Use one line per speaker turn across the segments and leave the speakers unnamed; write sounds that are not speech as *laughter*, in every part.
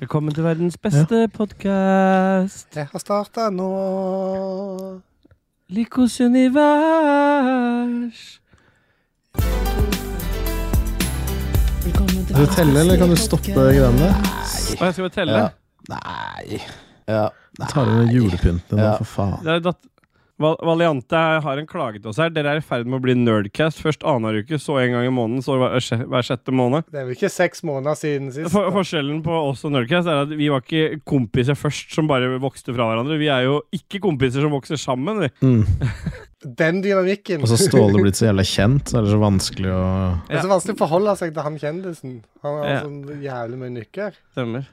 Velkommen til verdens beste podcast podkast.
Jeg har starta nå.
Likos univers.
Velkommen til
Kan du telle, eller kan du stoppe greiene der?
Og jeg skal bare telle.
Ja. Nei ja.
Ta deg julepynten,
Ja.
da, for faen.
Det er datt- Val Valiante har en klage til oss her. Dere er i ferd med å bli nerdcast. Først annenhver uke, så en gang i måneden, så hver, sje- hver sjette måned.
Det er vel ikke seks måneder siden sist?
For forskjellen på oss og nerdcast er at vi var ikke kompiser først som bare vokste fra hverandre. Vi er jo ikke kompiser som vokser sammen. Vi.
Mm.
Den dynamikken.
Og
Altså,
så Ståle blitt så jævla kjent, så er det så vanskelig å
Det er så vanskelig å forholde seg til han kjendisen. Han har
Ja.
sånn jævlig mye nykker.
Stemmer.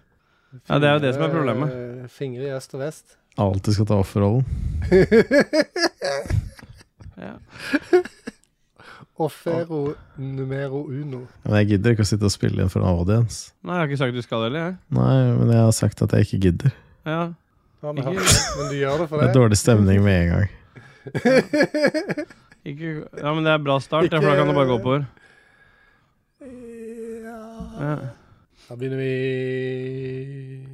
Ja, det er jo det som er problemet.
Fingre- eh, Fingre i øst og vest.
alltid skal ta offerrollen.
Offero numero uno.
Men jeg gidder ikke å sitte og spille inn for en audience.
Nei, jeg har ikke sagt du skal heller, jeg.
Nei, men jeg har sagt at jeg ikke gidder.
Ja.
Nå har vi
Ikke-
hørt det, men du gjør det for
Det er
det.
dårlig stemning med en gang.
Ikke, ja, men det er bra start, ja, for da kan det bare gå oppover. Ja.
Da begynner vi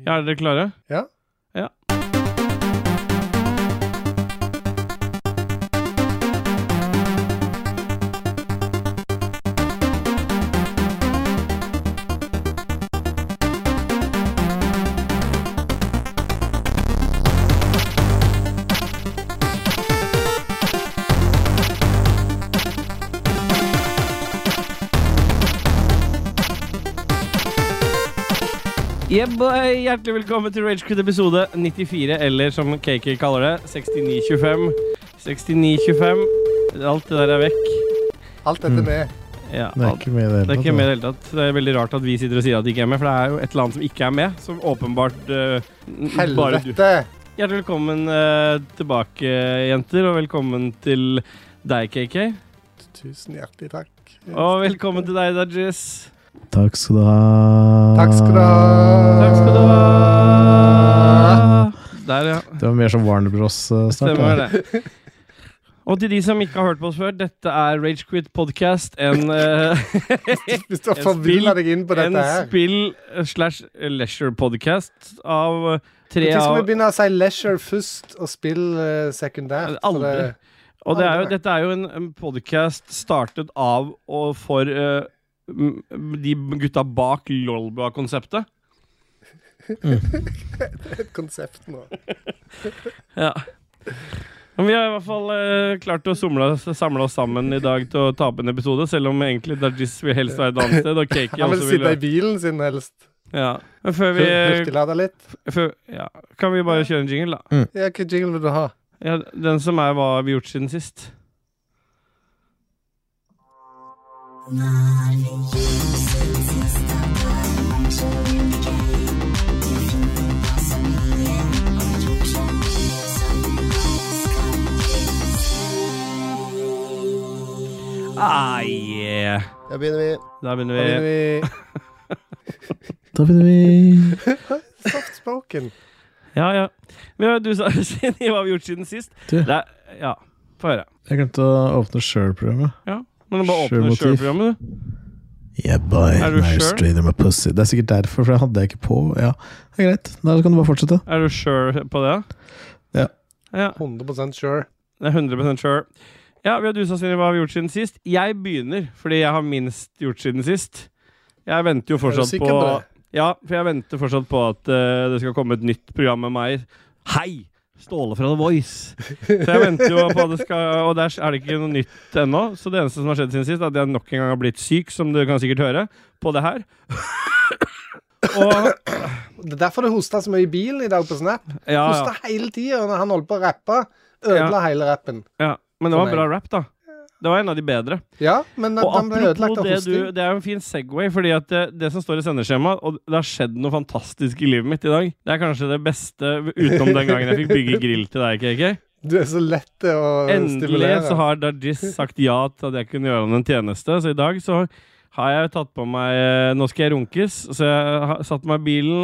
Ja, er dere klare?
Ja.
Ja. Yeah, boy. Hjertelig velkommen til Ragequit episode 94, eller som KK kaller det, 6925. 6925. Alt det der er vekk.
Alt dette med.
Ja,
Det er
alt.
ikke med i det
Det er ikke
hele
med i
tatt.
det hele tatt. Det er veldig rart at vi sitter og sier at det ikke er med, for det er jo et eller annet som ikke er med, som åpenbart eh, n- *laughs* bare du
Helvete!
Hjertelig velkommen eh, tilbake, jenter, og velkommen til deg, KK.
Tusen hjertelig takk.
Og velkommen til deg, Dajis.
da. Takk skal du ha.
Takk skal du
Ah.
ha.
Takk skal du ha. Der, ja.
Det var mer som Warner Bros. eh, snart.
Stemmer
da.
det. Og til de som ikke har hørt på oss før, dette er Ragequit podcast.
*laughs*
En, eh,
Hvis du har
En
forvilla deg inn på
en
dette her
spill eh, slash leisure podcast av tre
Når skal vi
av
begynne å si leisure først og spill eh, sekundært?
Aldri.
For det-
Og det er jo, dette er jo en, en podcast startet av og for eh, m- de gutta bak Lolba-konseptet.
Det er et konsept nå.
Ja. Men vi har i hvert fall eh, klart å somle oss- samle oss sammen i dag til å ta opp en episode, selv om egentlig Dajis vil helst være et annet sted, og Kaki
Han vil
også vil
sitte i bilen sin helst.
ja. Men før vi
Hurtiglade litt.
Før, ja. Kan vi bare kjøre en jingle, da?
Ja, Hvilken jingle vil du ha?
Ja, den som er hva har vi gjort siden sist. Ah, yeah.
Da begynner vi.
Da begynner
Da
vi.
begynner
Da begynner vi.
vi Softspoken.
Ja, ja. Men ja, du sa *laughs* siden hva har vi gjort siden sist.
Du.
Det er, ja, få høre.
Jeg glemte å åpne Sure-programmet.
Men du bare åpner
Sjølmotiv.
sjølprogrammet, du.
Yeah, boy.
Er du
Now you
sure?
strain my pussy. Det er sikkert derfor, for jeg hadde jeg ikke på. Ja, det er greit. Da kan du bare fortsette.
Er du sjøl på det?
Ja.
ja.
100 sure.
Det er 100 sure. Ja, vi har dusa sine hva har vi gjort siden sist. Jeg begynner, fordi jeg har minst gjort siden sist. Jeg venter jo fortsatt
er du
på,
sikker på det?
Ja, for jeg venter fortsatt på at eh, det skal komme et nytt program med meg. Hei! Ståle fra The Voice. Så jeg venter jo på at det skal Og der er det ikke noe nytt ennå. Så det eneste som har skjedd siden sist, er at jeg nok en gang har blitt syk, som du kan sikkert høre, på det her. Og
Det er derfor du hosta så mye i bilen i dag på Snap.
Ja, ja.
Hosta hele tida når han holdt på å rappe. Ødela hele rappen.
ja. Men det var
For meg.
bra rap, da. Det var en av de bedre.
Ja, men den,
Og
den ble ødelagt
apropos
av
det, du,
hosting.
det er jo en fin Segway, fordi at det, det som står i sendeskjemaet Og det har skjedd noe fantastisk i livet mitt i dag. Det er kanskje det beste utenom den gangen jeg fikk bygge grill til deg, KK.
Du er så lett til å
Endelig
stimulere.
så har Dajis sagt ja til at jeg kunne gjøre han en tjeneste, så i dag så har jeg tatt på meg eh, Nå skal jeg runkes, så jeg har satt meg i bilen.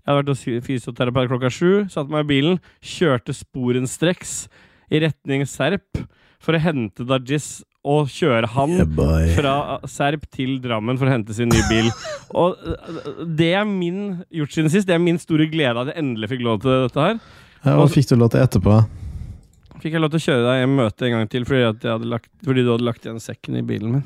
Jeg har vært hos fysioterapeut klokka sju, satt meg i bilen, kjørte sporenstreks i retning Serp for å hente Dajis og kjøre han
Yeah, boy.
fra Serp til Drammen for å hente sin nye bil. og øh, det er min gjort siden sist. Det er min store glede at jeg endelig fikk lov til dette her.
Ja, Hva fikk du lov til etterpå?
Fikk jeg lov til å kjøre deg hjem møte en gang til fordi, at jeg hadde lagt, fordi du hadde lagt igjen sekken i bilen
*laughs*
min?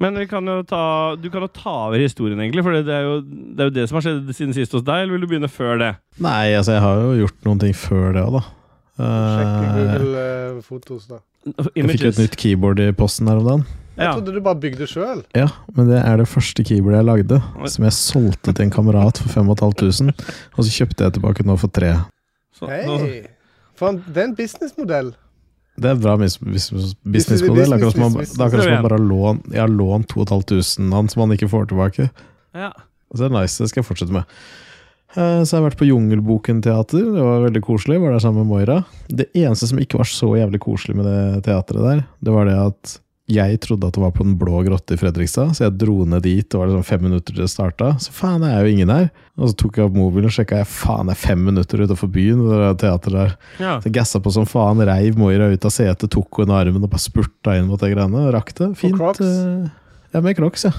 Men vi kan jo ta, du kan jo ta over historien, egentlig. For det er, jo, det er jo det som har skjedd siden sist hos deg. Eller vil du begynne før det?
Nei, altså, jeg har jo gjort noen ting før det òg, da.
Sjekk
Eh,
Google eh, Fotos, da.
jeg fikk jo et nytt keyboard i posten her om dagen.
Jeg
Ja.
trodde du bare bygde sjøl.
Ja, men det er det første keyboardet jeg lagde, som jeg solgte til en kamerat for 5500. Og så kjøpte jeg tilbake nå for tre.
Så, nå-
Hei! For en, det er en businessmodell.
Det er bra mis- bis- businessmodell. Akkurat som man, det er akkurat som man bare har lånt Jeg har lånt 2500 av den som man ikke får tilbake.
ja.
Så det er nice, det skal jeg fortsette med. Eh, Så jeg har vært på Jungelboken teater. Det var veldig koselig. Var der sammen med Moira. Det eneste som ikke var så jævlig koselig med det teatret der, det var det at jeg trodde at det var på Den blå grotte i Fredrikstad, så jeg dro ned dit. Det var liksom fem minutter til det starta. Så faen, det er jo ingen her. Og så tok jeg opp mobilen og sjekka. jeg, Faen, det er fem minutter utenfor byen. Det der teatret der.
ja.
Så jeg gassa på som faen, reiv Moira ut av setet, tok henne i armen og bare spurta inn mot det greiene. og Rakk det. Fint.
Crocs?
eh, Ja, med crocs, ja.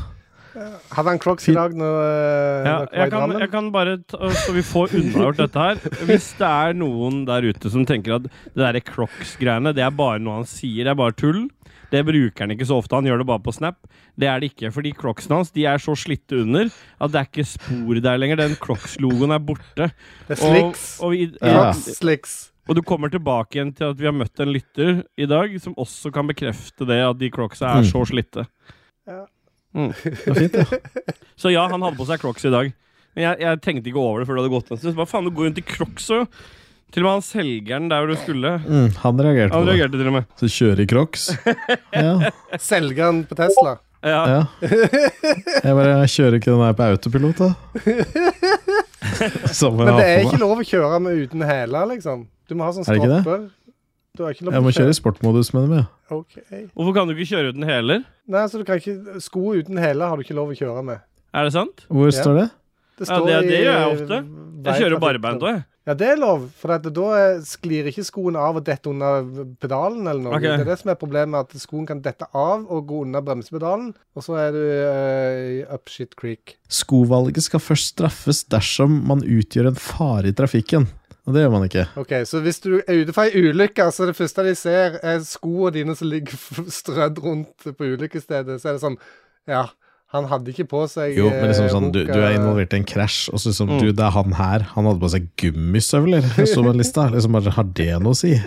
Hadde han crocs i dag når eh,
Ja,
dere
jeg,
var i
kan,
Drammen?
jeg kan bare ta, Så vi får unnagjort dette her. Hvis det er noen der ute som tenker at det derre Crocs-greiene Det er bare noe han sier, det er bare tull. Det bruker han ikke så ofte, han gjør det bare på Snap. Det er det ikke, fordi Crocsene hans de er så slitte under at det er ikke spor der lenger. Den Crocs-logoen er borte.
Det er
Og,
slicks.
og, i, i,
Ja.
Crocs-slicks.
og du kommer tilbake igjen til at vi har møtt en lytter i dag som også kan bekrefte det, at de Crocsa er
Mm.
så slitte.
Ja.
Mm.
Det var fint, ja.
*laughs*
Så ja, han hadde på seg crocs i dag. Men jeg, jeg tenkte ikke over det før det hadde gått en stund. Så bare faen, du går rundt i crocs òg! Til og med han selgeren der hvor du skulle.
Mm, han reagerte på
Han
det.
reagerte til og med.
Så kjøre i
*laughs*
crocs. Ja,
Selgeren på Tesla.
Ja.
ja. Jeg bare jeg kjører ikke den her på autopilot, da. Som jeg
Men
har
det er
på
ikke
meg.
lov å kjøre med uten hæler, liksom. Du må ha sånn
Er det ikke det?
stropper. Du har ikke lov
Jeg må
å
kjøre i sportmodus, mener jeg.
Ok.
Hvorfor kan du ikke kjøre uten hæler?
Nei, så du kan ikke Sko uten hæler har du ikke lov å kjøre med.
Er det sant?
Hvor
Ja.
står det?
Det
Ja, det- det gjør jeg ofte. Jeg kjører jo
veitrafikkloven.
barbeint òg, jeg.
Ja, det er lov, for at da eh, sklir ikke skoen av og detter under pedalen eller noe.
Ok.
Det er det som er problemet, at skoen kan dette av og gå under bremsepedalen, og så er du eh, i up shit creek.
Skovalget skal først straffes dersom man utgjør en fare i trafikken. Og det gjør man ikke.
OK, så hvis du er ute for ei ulykke, så det første de ser, er skoene dine som ligger f- strødd rundt på ulykkesstedet, så er det sånn Ja, han hadde ikke på seg
Jo, men liksom
eh,
sånn, du,
Hoka-
du er involvert i en krasj, og så liksom,
Mm.
du, det er han her, han hadde på seg gummistøvler. Jeg så på lista, liksom bare, har det noe å si?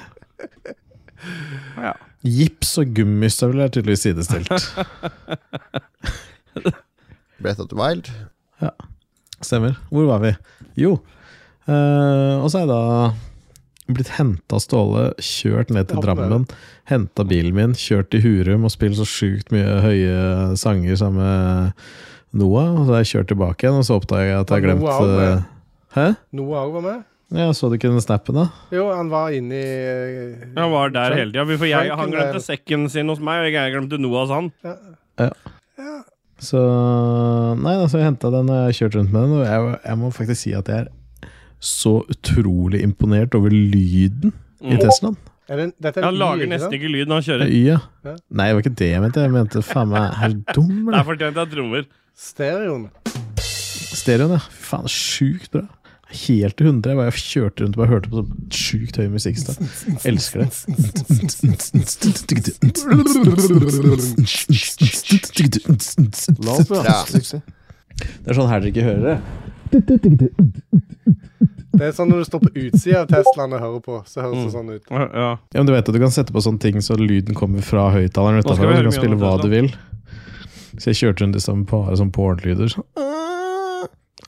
Ja.
Gips og gummistøvler er tydeligvis
*laughs*
sidestilt.
Breath of the Wild.
Stemmer. Hvor var vi? Jo. eh, og så er jeg da blitt henta av Ståle, kjørt ned til
Det håper jeg.
Drammen, henta bilen min, kjørt til Hurum og spilt så sjukt mye høye sanger sammen med Noah. Og så har jeg kjørt tilbake igjen, og så oppdaga jeg at jeg har
Var
glemt
Noah også med?
eh, Hæ?
Noah òg var med?
Ja, Så du ikke den snappen, da?
Jo, han var eh, inni
Han var der hele tida. For jeg, han
Franken der.
glemte sekken sin hos meg, og jeg glemte Noahs han.
Ja.
Så Nei, da, så jeg henta den og jeg har kjørt rundt med den. Og jeg, jeg må faktisk si at jeg er så utrolig imponert over lyden i
Mm.
Teslaen.
Er det, en- dette er
Han
en
lager
Y, ikke sant?
nesten ikke lyd når han
Det
kjører.
er Y, ja.
Ja.
Nei, det var ikke det jeg mente. Jeg mente faen meg Er du dum,
Der
eller?
fortjente jeg trommer.
Stereoen.
Stereoen, ja. Fy faen, sjukt bra. Helt til 100. Jeg bare kjørte rundt og bare hørte på sånn sjukt høy musikk. i stad. Elsker det.
Ja.
Det er sånn her dere ikke hører det.
Det er sånn når du står på utsida av Teslaen og hører på, så høres
Mm.
det sånn ut.
Ja, ja.
Ja, men du vet at du kan sette på sånne ting så lyden kommer fra høyttaleren
skal
utenfor.
vi
og
høre
Du kan
mye
spille
om
hva
Tesla.
du vil. Så jeg kjørte rundt i stedet med bare sånn pornlyder. sånn.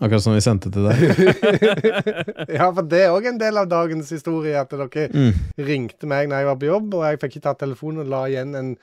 Akkurat som vi sendte til deg.
Ja, for det er òg en del av dagens historie, at dere
Mm.
ringte meg når jeg var på jobb, og jeg fikk ikke tatt telefonen og la igjen en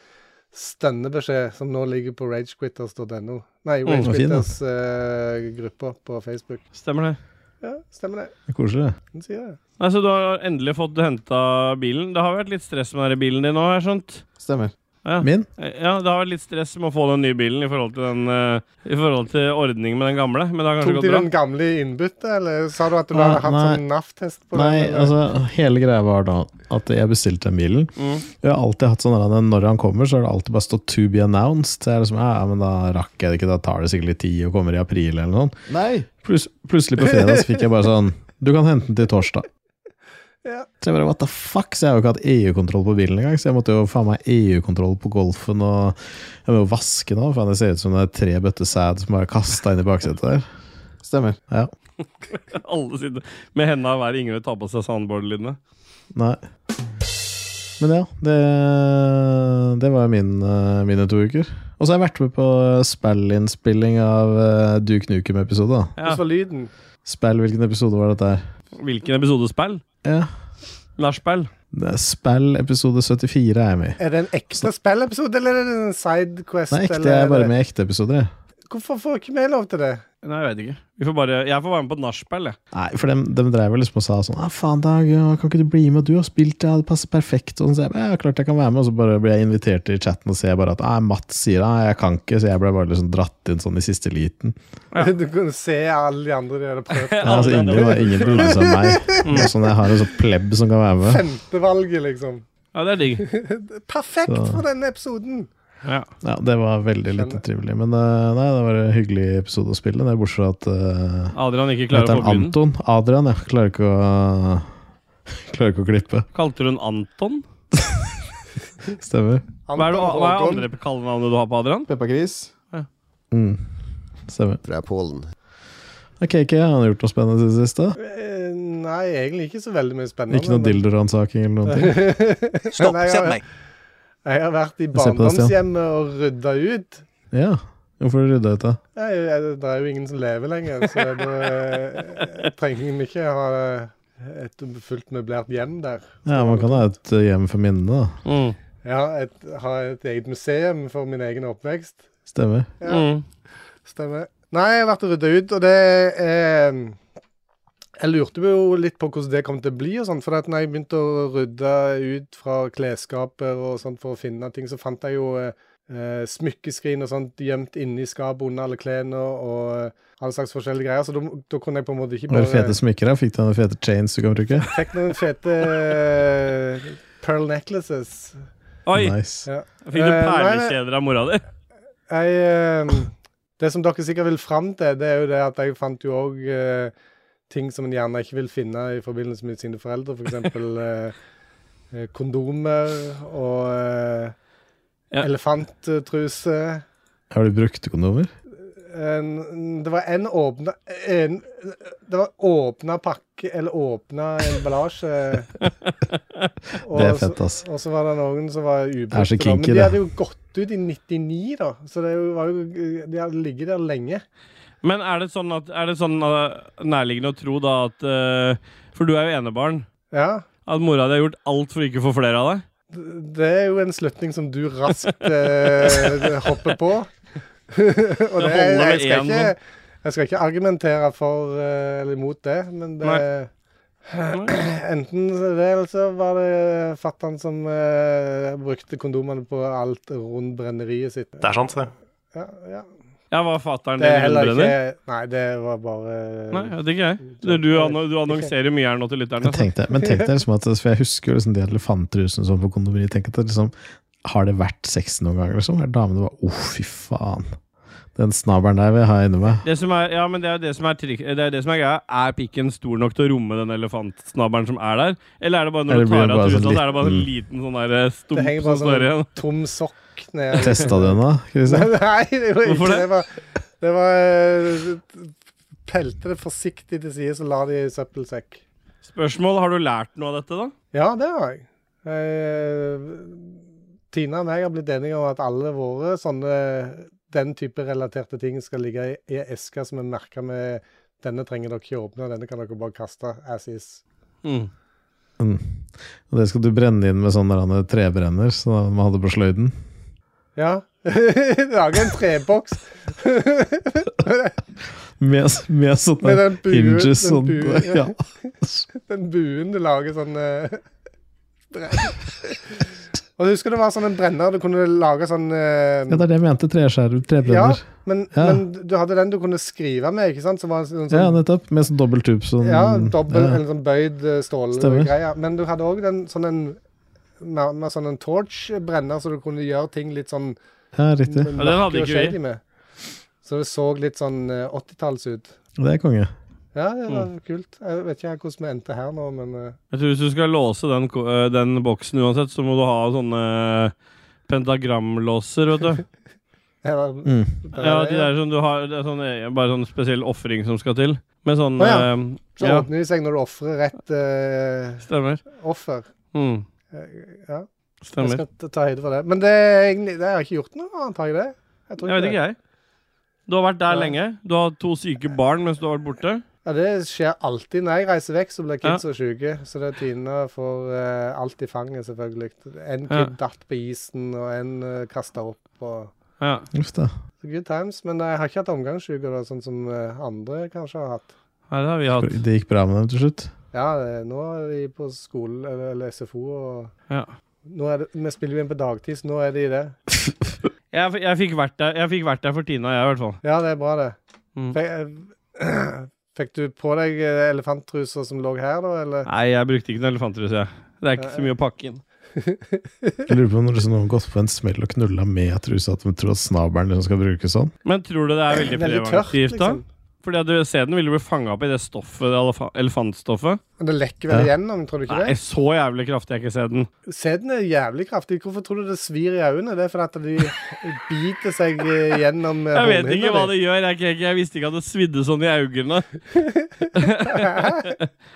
stønnebeskjed som nå ligger på ragequitters.no. Nei,
Mm,
fin, da.
Ragequitters-gruppa på Facebook.
Stemmer det.
Ja, stemmer det.
Koselig. det.
Den sier det.
Nei, så du har endelig fått henta bilen. Det har vært litt stress med den bilen din nå, har jeg skjønt.
Stemmer.
Ja.
Min?
Ja, det har vært litt stress med å få den nye bilen i forhold til, den, eh, i forhold til ordningen med den gamle. Men det har kanskje
Tok
gått
de
bra.
den gamle i innbyttet, eller sa du at du
Ah,
hadde hatt
nei.
sånn NAF-test på
Nei,
den? eller?
altså, hele greia var da at jeg bestilte den bilen.
Mm.
Jeg har alltid hatt sånn at når han kommer, så har det alltid bare stått 'to be announced'. Så jeg er liksom, ja, ja, men da rakk jeg det ikke, da tar det sikkert litt tid og kommer i april eller noe sånt.
Nei!
Plus, plutselig på fredag så fikk jeg bare sånn 'du kan hente den til torsdag'.
Ja.
Så jeg bare what the fuck, så jeg har jo ikke hatt EU-kontroll på bilen engang, så jeg måtte jo faen meg EU-kontroll på Golfen og jeg må jo vaske nå, faen det ser ut som det er tre bøtter sæd som bare er kasta inn i baksetet der.
Stemmer.
*laughs* Alle sitter med henda hver Ingrid tar på seg soundboard-lydene.
Nei. Men ja, det, det var min, eh, mine to uker. Og så har jeg vært med på eh, spillinnspilling av eh, Duke Nukem-episode. da.
Ja.
Hvordan var lyden?
Spill, hvilken episode var dette her?
Hvilken episode spill?
Ja,
Nachspiel?
det er Spill episode 74 er jeg med i.
Er det en ekte spillepisode, eller er det en sidequest?
Nei, ekte,
eller
jeg
er
er bare
det-
med i ekte episoder. jeg.
Hvorfor får ikke vi lov til det?
Nei, jeg vet ikke. Vi får bare, jeg får være med på et nachspiel, jeg.
Nei, for dem, dem drev vel liksom og sa sånn ah, 'Faen, Dag, ja, kan ikke du bli med? Du har spilt, ja, det passer perfekt.' Og så jeg, bare, ja, klart jeg kan være med, og så bare blir jeg invitert til chatten og ser bare at ah, 'Mats sier ah, jeg kan ikke', så jeg ble bare liksom dratt inn sånn i siste liten.
Ja.
*laughs* Du kunne se alle de andre de hadde prøvd.
Ja, altså, ingen, var, ingen brydde seg om meg.
Mm.
Det er Sånn, jeg har en sånn plebb som kan være med.
Femtevalget, liksom.
Ja, det er digg.
Perfekt
Så-
for denne episoden!
Ja.
Ja, det var veldig lite trivelig. Men eh, nei, det var en hyggelig episode å spille. Det er bortsett fra at eh,
Adrian ikke klarer å
Heter han
få lyden.
Anton? Adrian, ja. Klarer ikke å *laughs* Klarer ikke å klippe.
Kalte du den Anton?
Stemmer.
Hva er, det,
Anton
hva er
Håkon.
andre kallenavnet du har på Adrian?
Peppa Gris
Mm. Stemmer.
fra Polen.
Ok, ikke jeg har gjort noe spennende siden sist, da?
Eh, Nei, egentlig ikke så veldig mye spennende.
Ikke noe
men- *laughs*
dildoransaking eller noen ting?
Stopp,
Nei, ja,
se
ja.
på meg.
Jeg har vært i
ser på deg, Stian.
barndomshjemmet og rydda ut.
Ja. Hvorfor rydda ut, da?
Jeg, jeg, det er jo ingen som lever lenger, så da eh, trenger vi ikke ha et fullt møblert hjem der.
Ja, man kan ha et eh, hjem for minnene, da.
Mm.
Ja, et, ha et eget museum for min egen oppvekst.
Stemmer.
Ja.
Mm.
Stemmer. Nei, jeg har vært og rydda ut, og det eh, Jeg lurte jo litt på hvordan det kom til å bli, og sånt, for at når jeg begynte å rydde ut fra klesskaper og sånt for å finne ting, så fant jeg jo eh, eh, smykkeskrin og sånt gjemt inni skapet under alle klærne og eh, all slags forskjellige greier, så da da kunne jeg på en måte ikke
Var det fete
bare
smykker? da? Fikk du noen fete chains du kan bruke?
Fikk noen fete eh, pearl necklaces.
Oi!
Nice.
Fikk du
Eh, nei, nei.
perlekjeder av mora di?
Jeg, eh, det som dere sikkert vil fram til, det er jo det at jeg fant jo òg eh, ting som en gjerne ikke vil finne i forbindelse med sine foreldre, f.eks. Eh, eh, kondomer og eh,
Ja.
elefanttruse.
Har du brukte kondomer?
En, Eh, det var en åpna en, Det var åpna pakke, eller åpna emballasje.
Det
Og
er
så-
fett, ass.
og så var det noen som var ubrukt.
Det er så
da. Men
kinky,
de
det.
hadde jo gått ut i 99, da. Så det er jo- var jo, de hadde ligget der lenge.
Men er det sånn, at, er det sånn eh, nærliggende å tro da at eh, For du er jo enebarn.
Ja.
At mora di har gjort alt for ikke å få flere av deg?
Det er jo en slutning som du raskt eh, hopper på. *laughs* Og det,
holder med
jeg, skal
én,
ikke, jeg skal ikke argumentere for eh, eller imot det, men det *clears throat* Enten det, eller så var det fatter'n som eh, brukte kondomene på alt rundt brenneriet sitt.
Det er sant, det.
Ja, ja.
Ja, var fatter'n
Det
din
er heller
hundebrenner?
ikke Nei, det var bare
Nei, jeg vet ikke jeg. Du, du, anno- du annonserer mye her nå til lytterne.
Men tenk deg, men tenk deg liksom at For jeg husker jo liksom de elefantrusene som på kondomeri. Tenk at det liksom, Har det vært sex noen gang, liksom? Er damene bare Å, fy faen. Den snabelen der vil jeg ha inni meg.
Det som er, ja, men det er jo det som er, trik, det er, det som er greia. Er pikken stor nok til å romme den elefantsnabberen som er der? Eller er det bare når du
Eller blir
tar
det
av
bare
trusa,
sånn
så er det bare en liten sånn der eh,
Det
stump
henger
som
bare sånn-
står igjen?
tom sokk ned. *laughs*
Testa du den, da? Kristian?
Nei, det var
Hvorfor
ikke
det?
det. Var, det var Pelte det forsiktig til side, så la det i søppelsekk.
Spørsmål, har du lært noe av dette, da?
Ja, det har jeg. Eh, Tina og meg har blitt enige om at alle våre sånne den type relaterte ting skal ligge i, i esker som er merka med 'Denne trenger dere ikke åpne, denne kan dere bare kaste as is'.
Mm.
Mm. Og det skal du brenne inn med sånn der han trebrenner som man hadde på sløyden.
Ja. *laughs* Lage en treboks *laughs*
Med, med sånne
med den buen,
hinges
den
og
buen,
*laughs*
*laughs*
ja.
sånn, den buen du lager sånn eh, brett. *laughs* Og jeg husker det var sånn en brenner du kunne lage sånn eh,
Ja, det er det jeg mente. Treskjærer, trebrenner.
men,
ja.
men du hadde den du kunne skrive med, ikke sant? Som var en sånn,
Ja, nettopp. Med sånn dobbel tube. Sånn,
ja, dobbel,
ja.
en sånn bøyd eh,
Stemmer.
stålgreie. Men du hadde òg den sånn en mer, mer sånn en torch-brenner, så du kunne gjøre ting litt sånn
ja, riktig.
m-
Ja, den hadde
mørke og
ikke vi.
shady med. Så det så litt sånn eh, 80-talls ut.
Det er konge.
Ja, det var
Mm.
kult. Jeg vet ikke hvordan vi endte her nå, men eh,
Jeg tror Hvis du skal låse den, ko- eh, den boksen uansett, så må du ha sånne eh, pentagramlåser, vet *laughs* du.
jeg var,
Mm.
der
Ja,
er
de
jeg.
der som du har det er sånn, eh, Bare sånn spesiell ofring som skal til. Med sånn
Å,
ja.
ja. Så
ja,
åpner de seg når du ofrer rett eh,
stemmer.
offer.
Mm,
Eh, Ja, jeg
stemmer.
skal ta- ta høyde for det. Men det, er egentlig- det har jeg ikke gjort noe annet, har jeg det? tror
Jeg vet ikke, jeg. Du har vært der
Ja.
lenge. Du har hatt to syke barn mens du har vært borte.
Ja, det skjer alltid når jeg reiser vekk, så
Ja.
blir kidsa syke. Så det er Tina får eh, alt i fanget, selvfølgelig. En
Ja.
kid datt på isen, og en uh, kasta opp. og...
Ja.
Uff da.
Så Good times, men eh, jeg har ikke hatt omgangssyke, da, sånn som eh, andre kanskje har hatt.
Nei, det har vi hatt.
Det gikk bra med dem til slutt.
Ja, det- nå er de på skole eller, eller SFO, og
Ja.
nå er det, vi spiller jo inn på dagtid, så nå er de det.
Jeg, f- jeg fikk vært der Jeg fikk vært der for Tina, jeg, i hvert fall.
Ja, det er bra, det.
Mm.
Fikk, *clears throat* fikk du på deg eh, elefanttrusa som lå her, da, eller?
Nei, jeg brukte ikke en elefantrus, jeg. Det er ikke så mye å pakke inn.
Jeg lurer på om liksom noen har gått på en smell og knulla med trusa, at de tror at snabelen liksom skal brukes sånn.
Men tror du det er veldig
Veldig tørt,
preventivt, da?
liksom.
Fordi at du ser den ville bli fanga opp i det stoffet, det elefa- elefantstoffet.
Men det lekker vel
Ja.
igjennom, tror du ikke
Nei, så jævlig kraftig jeg ikke ser den.
det? Sæden er jævlig kraftig. Hvorfor tror du det svir i øynene? Det er fordi
*laughs*
at de biter seg eh, gjennom eh,
Jeg vet ikke hva
hornhinna
det gjør. Jeg, er ikke- jeg visste ikke at det svidde sånn i *laughs* øynene.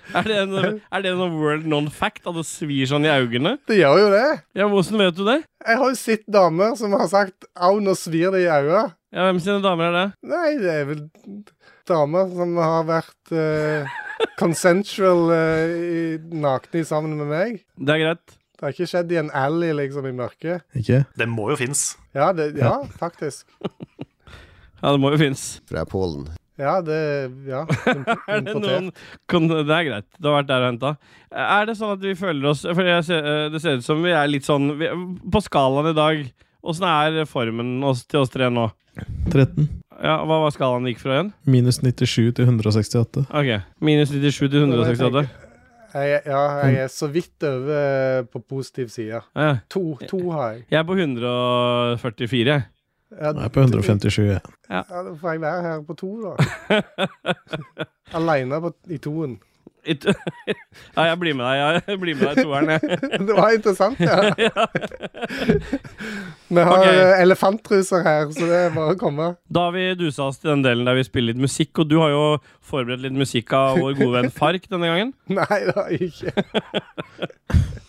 er, det en, er det noe world non-fact at det svir sånn i øynene?
di. Det gjør jo det.
Ja, Hvordan vet du det?
Jeg har jo sett damer som har sagt 'au, nå svir det i øya'.
Ja, Hvem sine damer er det?
Nei, det er vel damer som har vært eh, consensual eh, i- nakne sammen med meg.
Det er greit.
Det har ikke skjedd i en alley, liksom, i mørket.
Ikke?
Den må jo finnes.
Ja, det, ja, faktisk.
Ja, det må jo finnes.
fra Polen.
Ja, det Ja.
*laughs* Er det,
Importert.
noen, kon- det er greit. Det har vært der og henta. Er det sånn at vi føler oss For jeg ser, eh, det ser ut som vi er litt sånn vi, På skalaen i dag, åssen er formen oss, til oss tre nå?
13.
Ja, Hva var skalaen det gikk fra igjen?
Minus 97 til 168.
Ok, Minus 97 til 168.
Jeg, ja, jeg er så vidt over eh, på positiv side.
Ja.
To, to har jeg.
Jeg er på 144, jeg.
Ja,
Nå er jeg på 157. jeg.
Ja, da får jeg være her på to, da. Aleine i toen. *laughs*
It- *laughs* ja, jeg blir med deg. Jeg blir med deg i toeren, jeg.
Det var
*laughs*
interessant, ja. Vi har
Ok.
eh, elefantruser her, så det er bare å komme.
Da har vi dusa oss til den delen der vi spiller litt musikk, og du har jo forberedt litt musikk av vår gode venn Fark denne gangen.
*laughs* Nei, det har jeg ikke. *laughs*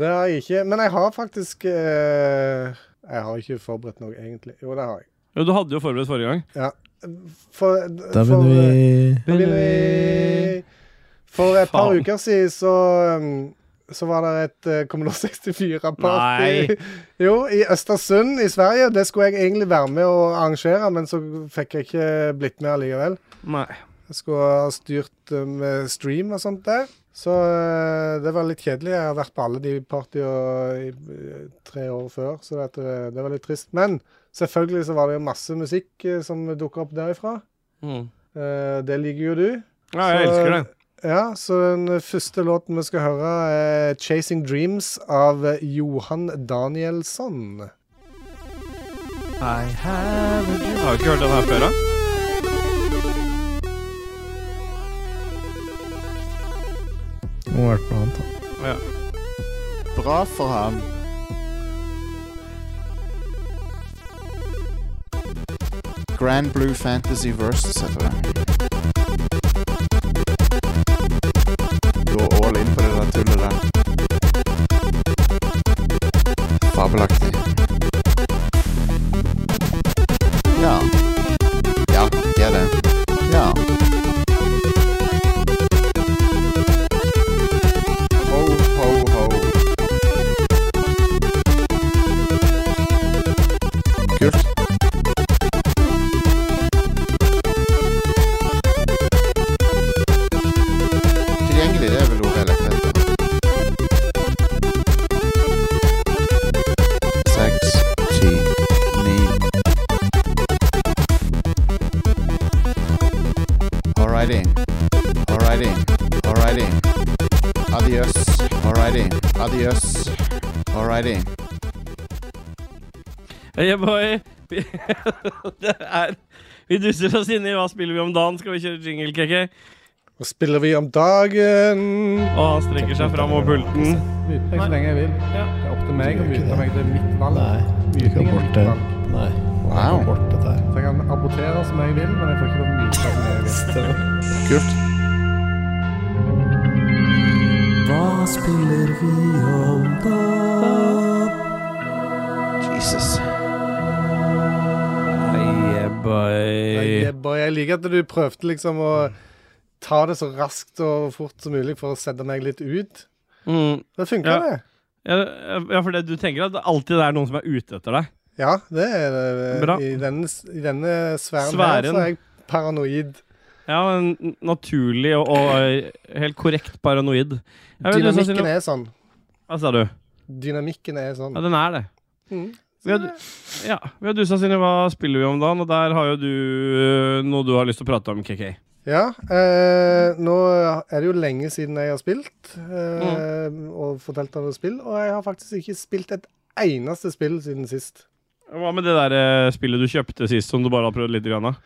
Det har jeg ikke. Men jeg har faktisk eh, Jeg har ikke forberedt noe, egentlig. Jo, det har jeg.
Jo, du hadde jo forberedt forrige gang.
For,
Da
for,
begynner
eh,
vi
da begynner vi. For et par
Faen.
uker siden så um, så var det et eh, Commodore 64-party
Nei.
*laughs* Jo, i Østersund i Sverige. Det skulle jeg egentlig være med å arrangere, men så fikk jeg ikke blitt med allikevel.
Nei.
Jeg skulle ha styrt eh, med stream og sånt der. Så eh, det var litt kjedelig. Jeg har vært på alle de partya i eh, tre år før, så det, at, eh, det var litt trist. Men selvfølgelig så var det jo masse musikk eh, som dukka opp derifra.
Mm.
Eh, Det liker jo du.
Ja, jeg
Så-
elsker det.
Ja, så den første låten vi skal høre, er 'Chasing Dreams' av Johan Danielsson.
Jeg har jo ikke hørt den her før, da.
Det må ha vært noe annet. da.
Bra for ham. Grand Blue Fantasy Versus heter det. Gå all in på det der tullet der. Fabelaktig. Ja. Ja, det er det. Ja. Ho, ho, ho. Kult. er Alrighty. Alrighty. Alrighty. Adios. Alrighty. Adios. Alrighty.
Hey, boy. *laughs* det er Vi dusser oss inni Hva spiller vi om dagen? Skal vi kjøre jingle, KK?
Nå spiller vi om dagen.
Og han strekker seg fram over pulten.
Myte meg så lenge jeg vil. Det er opp til meg å
Du gjør ikke det.
myte meg. Det er mitt valg.
Nei, du kan
Myting er
bort
mitt
det.
valg.
Nei,
Wow.
bort dette her.
Så jeg kan abortere som jeg vil, men jeg får ikke lov til å myte som jeg vil.
Kult. Jesus.
Hey, boy.
Jeg, jeg liker at du prøvde liksom å ta det så raskt og fort som mulig for å sette meg litt ut.
Mm.
Det funka,
Ja.
det.
Ja, ja, for det du tenker at det alltid er noen som er ute etter deg.
Ja, det er det.
Bra.
I denne, i denne sfæren,
Sfæren.
her så er jeg paranoid.
Ja, men n- naturlig og, og helt korrekt paranoid. Jeg vet, du sa,
Dynamikken
Silje-
er sånn.
Hva sa du?
Dynamikken er sånn.
Ja, den er det.
Mm.
Vi har, ja, vi har dusa, Silje. Hva spiller vi om dagen? Og der har jo du øh, noe du har lyst til å prate om, KK.
Ja, eh, nå er det jo lenge siden jeg har spilt eh,
Mm.
og fortalt om spill, og jeg har faktisk ikke spilt et eneste spill siden sist.
Hva med det der eh, spillet du kjøpte sist, som du bare har prøvd litt? Grann, av?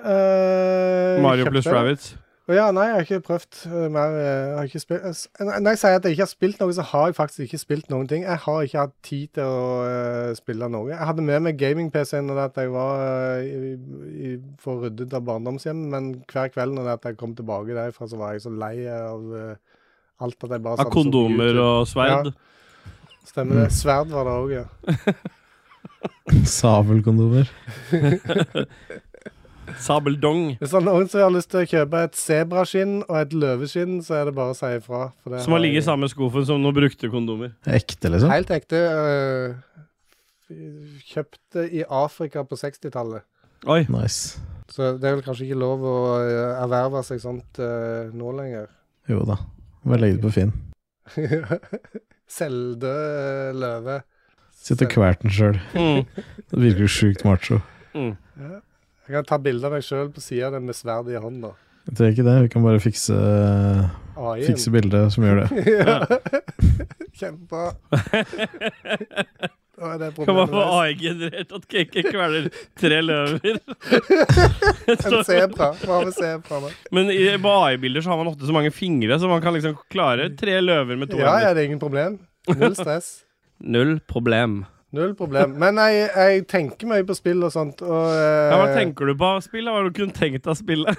Eh,
Mario
kjøpte
pluss
det.
Rabbits.
Å ja, nei, jeg har ikke prøvd eh, mer. eh, Jeg har ikke spilt. eh, s- eh, Når jeg sier at jeg ikke har spilt noe, så har jeg faktisk ikke spilt noen ting. Jeg har ikke hatt tid til å eh, spille noe. Jeg hadde med meg gaming-PC-en når det at jeg var eh, i, i, for ryddet av barndomshjemmet, men hver kveld når det at jeg kom tilbake derfra, så var jeg så lei av eh, alt at jeg bare
Av
satt og så på
kondomer
YouTube.
og Mm. sverd.
Stemmer det. Sverd var det òg, ja.
Sabelkondomer.
Sabeldong.
Hvis det er noen som har lyst til å kjøpe et sebraskinn og et løveskinn, så er det bare å si ifra. for det
Som har ligget i
jeg-
samme skuffen som noen brukte kondomer.
Ekte, liksom?
Helt ekte. øh, f- kjøpt det i Afrika på 60-tallet.
Oi.
Nice.
Så det er vel kanskje ikke lov å øh, erverve seg sånt øh, nå lenger. *laughs*
Jo da. Bare legg det på Finn.
Selvdød eh, løve.
Sitt og kvert den sjøl.
Mm.
Det virker jo sjukt macho.
Mm.
Jeg kan ta bilde av meg sjøl på sida av den med sverdet i hånda.
Jeg trenger ikke det. Vi kan bare fikse,
AI-en.
fikse bildet som gjør det. *laughs*
Ja. Kjempebra. Da er det
Kan man
problemet.
få
løst.
AI-generert at Kake kveler tre løver?
En sebra. Hva med sebra? da?
Men i på AI-bilder så har man ofte så mange fingre, så man kan liksom klare tre løver med to
Ja, ja,
hender.
det er ingen problem. Null stress.
Null problem.
Null problem. Men jeg, jeg tenker mye på spill og sånt, og eh,
Ja, hva tenker du på av spillet? Hva har du kunne tenkt deg å spille?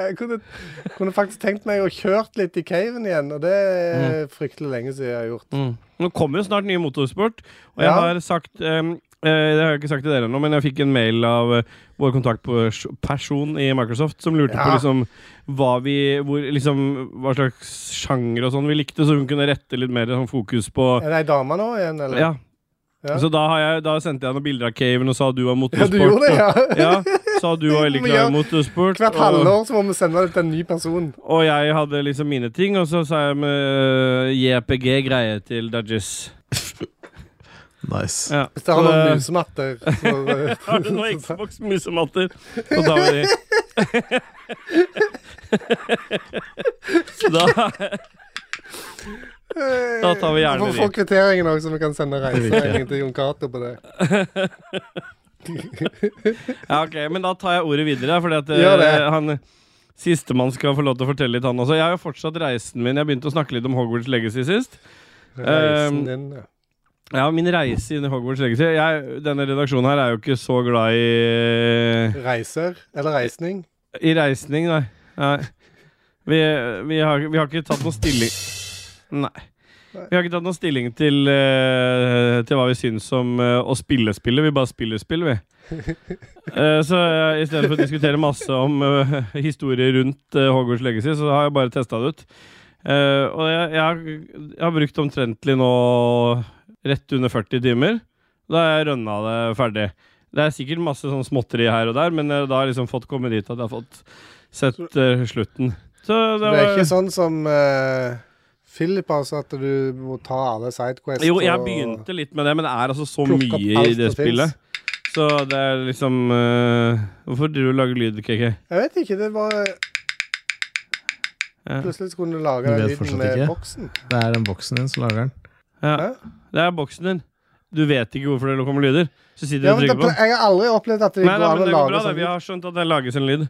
Jeg kunne, kunne faktisk tenkt meg å kjørt litt i caven igjen, og det er fryktelig lenge siden jeg har gjort.
Mm. Nå kommer jo snart nye motorsport, og jeg
Ja.
har sagt em, eh, Det har jeg ikke sagt til dere ennå, men jeg fikk en mail av eh, vår kontaktperson i Microsoft som lurte på
Ja.
liksom hva, vi, hvor, liksom, hva slags sjanger og sånn vi likte, så hun kunne rette litt mer sånn, fokus på
Er det ei dame nå igjen, eller?
Ja.
Ja.
Så da, har jeg, da sendte jeg noen bilder av caven og sa du var
Ja,
motorsport.
du gjorde det,
og-
ja.
*laughs* Ja, sa du var veldig
Vi
glad
gjør-
i motorsport.
Hvert
og,
halvår så må vi sende det til en ny person.
og jeg hadde liksom mine ting, og så sa jeg med eh, JPG-greie til Dajis.
Nice.
Ja.
Hvis det har
Så *laughs*
noen
det-
musematter. *laughs* så-
Har du noen Xbox musematter? Så tar vi de. *laughs* Så da, da tar vi gjerne
Får få
de.
kvitteringen òg, så vi kan sende
Det vil jeg
reiseregning til Jon Cato på det.
Ja, ok, Men da tar jeg ordet videre, fordi at
Gjør det.
eh, han Sistemann skal få lov til å fortelle litt, han også. Jeg har jo fortsatt reisen min. Jeg begynte å snakke litt om Hogwarts Legacy sist. Um,
Reisen din, ja.
Ja, min reise inn i Hogwarts Legacy jeg, Denne redaksjonen her er jo ikke så glad i
Reiser? Eller reisning?
I reisning, nei. nei. Vi, vi, har, vi har ikke tatt noen stilling Nei. Vi har ikke tatt noen stilling til, eh, til hva vi syns om eh, å spille spillet. Vi bare spiller
*laughs*
spill, vi. Eh, så uh, i stedet for å diskutere masse om uh, historier rundt eh, Hogwarts Legacy, så har jeg bare testa det ut. Eh, og jeg, jeg, har, jeg har brukt omtrentlig nå rett under 40 timer. Da har jeg rønna det ferdig. Det er sikkert masse sånn småtteri her og der, men eh, da har jeg liksom fått komme dit at jeg har fått sett eh, slutten. Så
Det er ikke sånn som eh, Philip, altså, at du må ta alle sidequests
Jo, jeg
og-
begynte litt med det, men det er altså så
Plukke opp
mye
alt
i det
som
spillet. Så det er liksom eh, Hvorfor driver du og lager lyd, KK?
Jeg vet ikke, det var
Ja.
Plutselig så kunne du lage
Du
den
vet
lyden
fortsatt
med
ikke.
boksen.
Det er den boksen din som lager den.
Ja.
Hæ?
Det er boksen din. Du vet ikke hvorfor det kommer lyder. Så sitter du
Ja,
og
men det,
trykker på den.
jeg har aldri opplevd at det
Nei,
går
nei,
an
men
å
det går
lage
bra. Da.
sånn.
Vi har skjønt at det lages en lyd.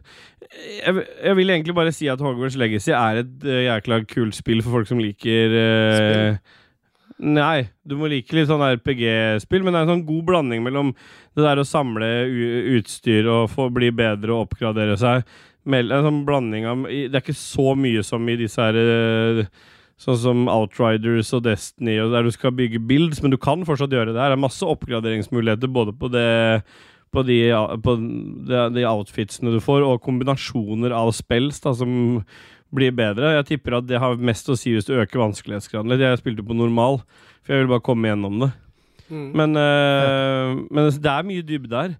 Jeg, jeg vil egentlig bare si at Hogwarts Legacy er et eh, jækla kult spill for folk som liker eh, Nei, du må like litt sånn RPG-spill, men det er en sånn god blanding mellom det der å samle u utstyr og få bli bedre og oppgradere seg. Mell- En sånn blanding av i- Det er ikke så mye som i disse her eh, Sånn som Outriders og Destiny, og der du skal bygge builds, men du kan fortsatt gjøre det. her. Det er masse oppgraderingsmuligheter både på det på de, på de, de outfitsene du får, og kombinasjoner av spells da, som blir bedre. Jeg tipper at det har mest å si hvis du øker vanskelighetsgraden litt. Jeg spilte på normal, for jeg ville bare komme gjennom det.
Mm.
Men, eh, men det er mye dybde der.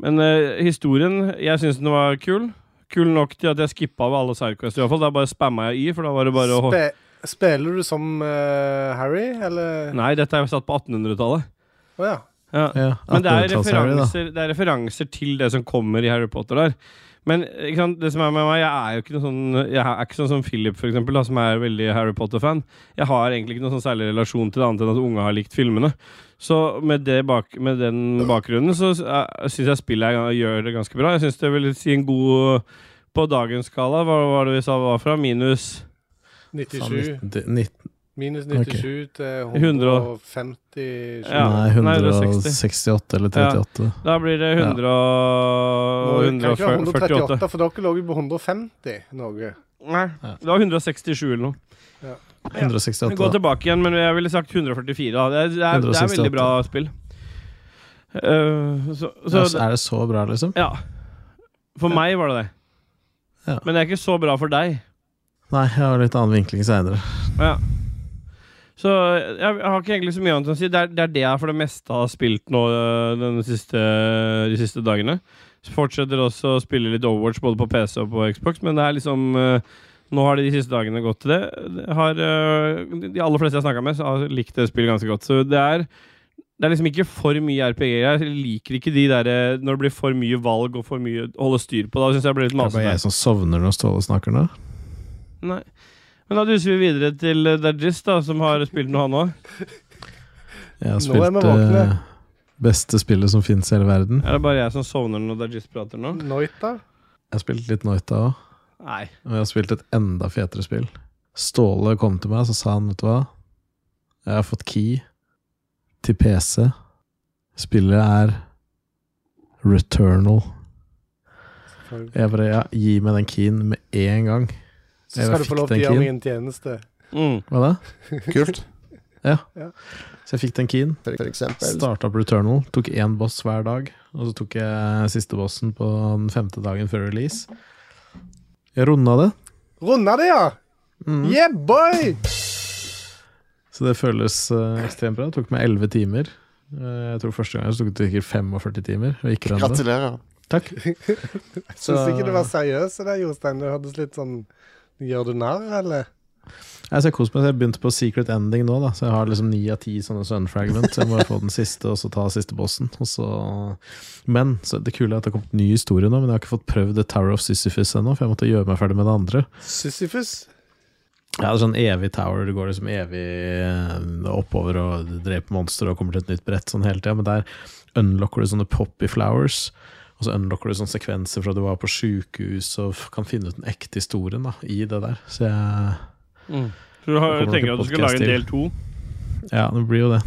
Men eh, historien Jeg syns den var kul. Kul nok til at jeg skippa over alle sidequests. i hvert fall. Da bare spamma jeg i, for da var det bare å
Spe spiller du som eh, Harry, eller Å
Nei, dette er jo satt på 1800-tallet.
ja.
Ja.
Ja,
Men det er,
1800-tallsherry, da.
referanser, det er referanser til det som kommer i Harry Potter der. Men ikke sant, det som er med meg, jeg er jo ikke noe sånn Jeg er ikke sånn som Philip, for eksempel, da, som er veldig Harry Potter-fan. Jeg har egentlig ikke noen sånn særlig relasjon til det, annet enn at unge har likt filmene. Så med, det bak, med den bakgrunnen så eh, syns jeg spillet er, gjør det ganske bra. Jeg syns det vil si en god På dagens skala, hva var det vi sa var fra? Minus
97.
Faen, 19 19
Minus 97 til
100 og-
157.
Ja.
Nei,
nei,
168 eller 38.
Da blir det 100 og
Nå, kan ikke være
148.
138, for dere lå jo på 150 noe.
Nei, det var 167 eller noe. Vi
168.
går
da.
tilbake igjen, men jeg ville sagt 144. Da. Det, er, det, er, det er
168.
veldig bra spill. Eh, så,
Ja,
så,
så er det så bra, liksom?
ja. For meg var det det.
Ja.
Men det er ikke så bra for deg.
Nei, jeg har litt annen vinkling seinere.
Ja. Så jeg, jeg har ikke egentlig så mye annet å si. Det er, det er det jeg for det meste har spilt nå øh, den siste, øh, de siste dagene. Så fortsetter også å spille litt Overwatch både på PC og på Xbox, men det er liksom øh, Nå har det de siste dagene gått til det. Det Har, øh, de aller fleste jeg har snakka med, så har likt det spillet ganske godt. Så det er det er liksom ikke for mye RPG. Jeg liker ikke de der, øh, når det blir for mye valg og for mye å holde styr på. Da syns jeg det blir litt
Det er bare
masete.
jeg som sovner når Ståle snakker nå.
Nei. Men da duser vi videre til eh, Dajis, da, som har spilt noe, han òg.
Jeg har
Nå er vi
spilt
våkne.
eh, beste spillet som fins i hele verden.
Er det bare jeg som sovner når Dajis prater nå?
Noita?
Jeg har spilt litt Noita òg,
Nei.
og jeg har spilt et enda fetere spill. Ståle kom til meg, så sa han, vet du hva Jeg har fått key til PC. Spillet er Returnal. Jeg bare, ja, gi meg den keyen med en gang.
Så
Jeg
skal du
fikk
få lov
den
til å gjøre meg
keen.
en tjeneste.
Mm.
Hva da?
Kult.
Så jeg fikk den keyen.
For, for eksempel.
Starta på Returnal, tok én boss hver dag. Og så tok jeg siste bossen på den femte dagen før release. Jeg runda det.
Runda det, ja!
Mm.
Yeah, boy!
Så det føles eh, ekstremt bra. Det tok meg 11 timer. Eh, jeg tror første gang så tok det sikkert 45 timer. Og gikk rundt det.
Gratulerer.
Takk.
Syns ikke du var seriøs i det, Jostein. Det hørtes litt sånn Gjør du narr, eller?
Jeg ser kos meg, så jeg begynte på Secret Ending nå, da. Så jeg har liksom ni av ti sånne Sun-fragment. Så jeg må få den siste, og så ta siste bossen. Og så Men så det kule er at det har kommet ny historie nå, men jeg har ikke fått prøvd The Tower of Sisyphus ennå, for jeg måtte gjøre meg ferdig med det andre.
Sisyfus?
Ja, det er sånn evig tower. Du går liksom evig eh, oppover og dreper monstre og kommer til et nytt brett sånn hele tida. Men der unlocker du sånne poppy flowers. Og så unlocker du sånne sekvenser fra du var på sjukehus og f- kan finne ut den ekte historien da, i det der. Så jeg,
Mm. Så du har,
Det kommer
tenker
nok
at du
en
skal lage en
podcast
del to?
ja, det blir jo det.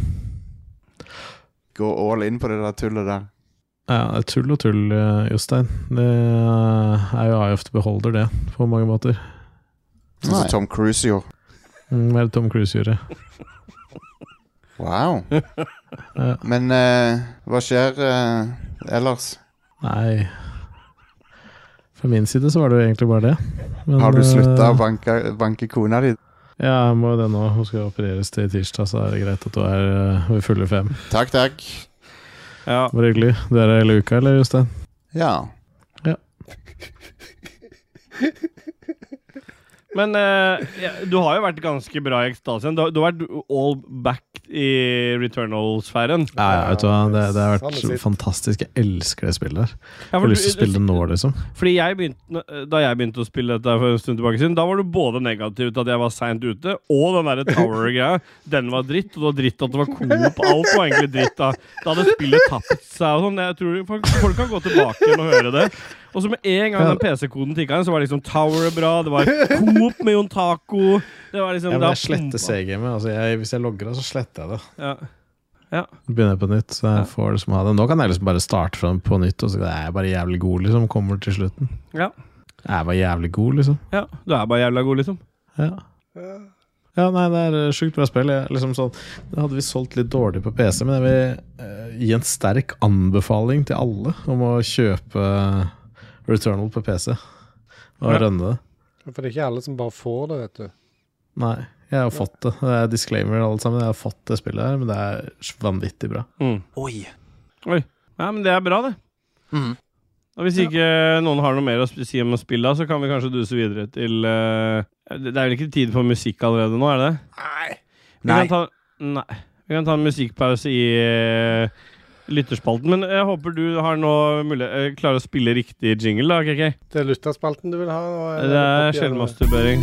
Gå all in på det der tullet der.
Ja, det er tull og tull, eh, Jostein. Det eh, er jo Eye of the Beholder, det, på mange måter.
Sånn
Nei.
som Tom Cruise gjorde.
Mm, Hva er det Tom Cruise gjorde?
Wow.
Ja.
*laughs* Men eh, hva skjer eh, ellers?
Nei Fra min side så var det jo egentlig bare det. Men,
Har du slutta
eh,
å banke, banke kona di?
Ja, jeg må jo det nå. Hun skal opereres til tirsdag, så er det greit at du er øh, ved fulle fem.
Takk, takk.
Ja.
Var det hyggelig. Du er her hele uka, eller, Jostein?
Ja.
Men eh, ja, du har jo vært ganske bra i Ekstasien. Du, har- du har vært all back i Returnal-sfæren.
Ja, ja, vet du hva? Det, det har
Samme
vært
sitt.
fantastisk. Jeg elsker det spillet der.
Ja,
Jeg
for
har lyst til
du-
å
du-
spille det nå, liksom.
Fordi jeg begynte, Da jeg begynte å spille dette for en stund tilbake siden, da var du både negativ til at jeg var seint ute, og den derre Tower-greia. Den var dritt, og det var dritt at det var Coop. Alt var egentlig dritt. Da Da hadde spillet tapt seg og sånn. Jeg tror folk, folk kan gå tilbake igjen og høre det. Og så med en gang den PC-koden tikka inn, så var det liksom Tower bra, det var Coop med Jon Taco Det var liksom
Ja, men
da
jeg sletter
pumpa-
C-gamet. Altså, jeg- hvis jeg logger av, så sletter jeg det.
Ja.
Begynner jeg på nytt, så
Ja.
jeg får liksom ha det. Nå kan jeg liksom bare starte fra på nytt, og så er jeg bare jævlig god, liksom. Kommer til slutten.
Ja.
Jeg er bare jævlig god, liksom.
ja. Du er bare jævla god, liksom.
Ja. Ja, nei, det er eh, sjukt bra spill. Jeg, liksom sånn, det hadde vi solgt litt dårlig på PC, men jeg vil eh, gi en sterk anbefaling til alle om å kjøpe eh, Returnal på PC og
Ja.
rønne det.
For det er ikke alle som bare får det, vet du.
Nei, jeg har fått det. Det er disclaimer alle sammen. Jeg har fått det spillet her, men det er vanvittig bra.
Mm.
Oi.
Ja, men det er bra, det.
Mm.
Og Hvis ikke noen har noe mer å sp- si om spillet, så kan vi kanskje duse videre til eh, Det det er vel ikke tid for musikk allerede nå, er det? Vi
Nei.
Kan ta, nei. Vi kan ta en musikkpause i eh, lytterspalten. Men jeg håper du har nå mulig, eh, klarer å spille riktig jingle, da, KK.
Det er lytterspalten du vil ha? og- eh,
Det
eller-
er sjelmasturbering.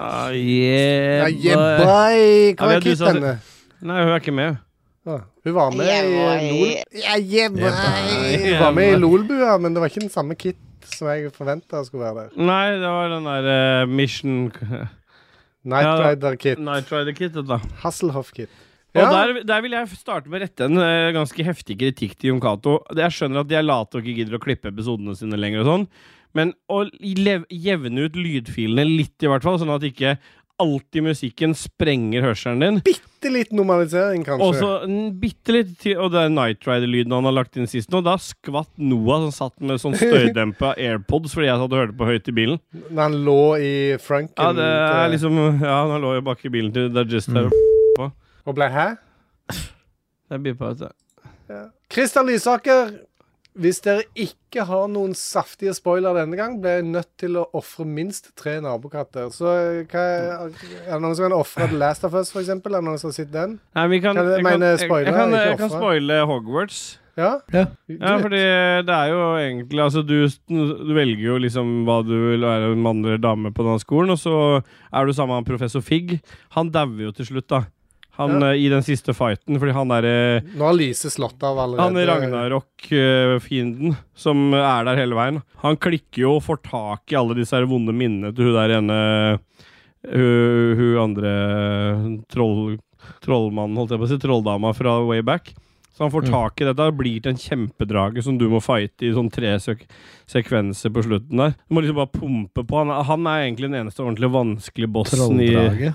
Ah, yeah,
Ja, yeah,
boy.
boy! Hvor
Ja, det er
er
du som-
kitten?
Nei, hun er ikke med.
Ah, Hun var med i LOL. Ja, yeah, boy! Hun var med i
Yeah,
LOL-bua, men det var ikke den samme Kit som jeg forventa skulle være der.
Nei, det var den der eh, Mission Ja,
Night
da-
Rider-Kit.
Night Rider Kit, da.
Hasselhoff-Kit.
Og
Ja.
der, der vil jeg starte med å rette en eh, ganske heftig kritikk til Jon Cato. Jeg skjønner at de er late og ikke gidder å klippe episodene sine lenger, og sånn men å lev- jevne ut lydfilene litt, i hvert fall, sånn at ikke alltid musikken sprenger hørselen din.
Bitte litt normalisering, kanskje.
Og så en bitte litt til, og det er Night Rider-lyden han har lagt inn sist nå. Da skvatt Noah, som satt med sånn støydempa
*laughs*
AirPods fordi jeg satt og hørte på høyt i bilen.
Når han lå i frunken
Ja, det er
til-
liksom Ja, han lå jo bak i bilen til Dajist
Mm.
der. liksom-
og ble hæ?
Det er bipa, vet du.
Kristian Lysaker, hvis dere ikke har noen saftige spoiler denne gang, blir jeg nødt til å ofre minst tre nabokatter. Så eh, hva, er det noen som kan ofre The Last of Us, for eksempel? Er det noen som har sett den?
Nei, vi kan,
Kan du
jeg, kan,
mene
jeg,
spoiler,
jeg, kan,
ikke
jeg kan
ofre?
spoile Hogwarts.
Ja?
Ja.
Ja, fordi det er jo egentlig Altså, du, du velger jo liksom hva du vil være en mann eller dame på den skolen, og så er du sammen med han professor Figg. Han dauer jo til slutt, da. Han
Ja.
eh, I den siste fighten, fordi han eh, derre
Nå har Lise slått av allerede.
han Ragnarok-fienden som er der hele veien, han klikker jo og får tak i alle disse her vonde minnene til hun der ene Hun, hun andre troll, trollmannen, holdt jeg på å si, trolldama fra way back. Så han får
Mm.
tak i dette og blir til en kjempedrage som du må fighte i sånn tre sek sekvenser på slutten der. Du må liksom bare pumpe på. Han, han er egentlig den eneste ordentlig vanskelige bossen i
Trolldrage.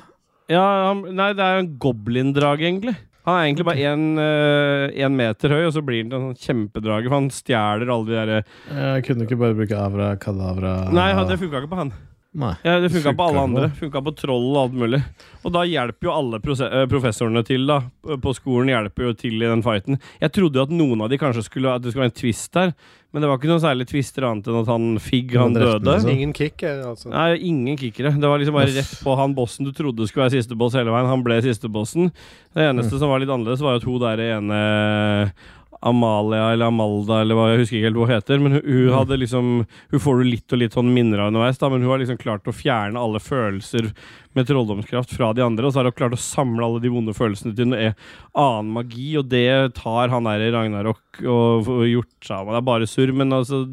ja, han, nei, det er jo en goblin-drage, egentlig. Han er egentlig bare én meter høy, og så blir han en sånn kjempedrage, for han stjeler alle de derre
Jeg kunne ikke bare bruke Avra Kadavra
Nei, han, det funka ikke på han.
Nei.
Ja, det funka på
Funka
alle
på
andre.
det.
Funka på troll og alt mulig. Og da hjelper jo alle prose- eh, professorene til, da. På skolen hjelper jo til i den fighten. Jeg trodde jo at noen av de kanskje skulle At det skulle være en twist her, men det var ikke noen særlig twister annet enn at han Figg, han
Han
døde.
drepte den, så.
Ingen kicker, altså.
Nei, ingen kickere. Det var liksom bare rett på han bossen du trodde skulle være siste boss hele veien. Han ble siste bossen. Det eneste som var litt annerledes, var at hun der ene eh, Amalia eller Amalda eller hva, jeg husker ikke helt hva hun heter. Men hun, hun hadde liksom Hun får du litt og litt sånn minner av underveis, da, men hun har liksom klart å fjerne alle følelser med trolldomskraft fra de andre, og så har hun klart å samle alle de vonde følelsene til en e- annen magi, og det tar han der i Ragnarok og, og gjort seg av. Det er bare surr, men altså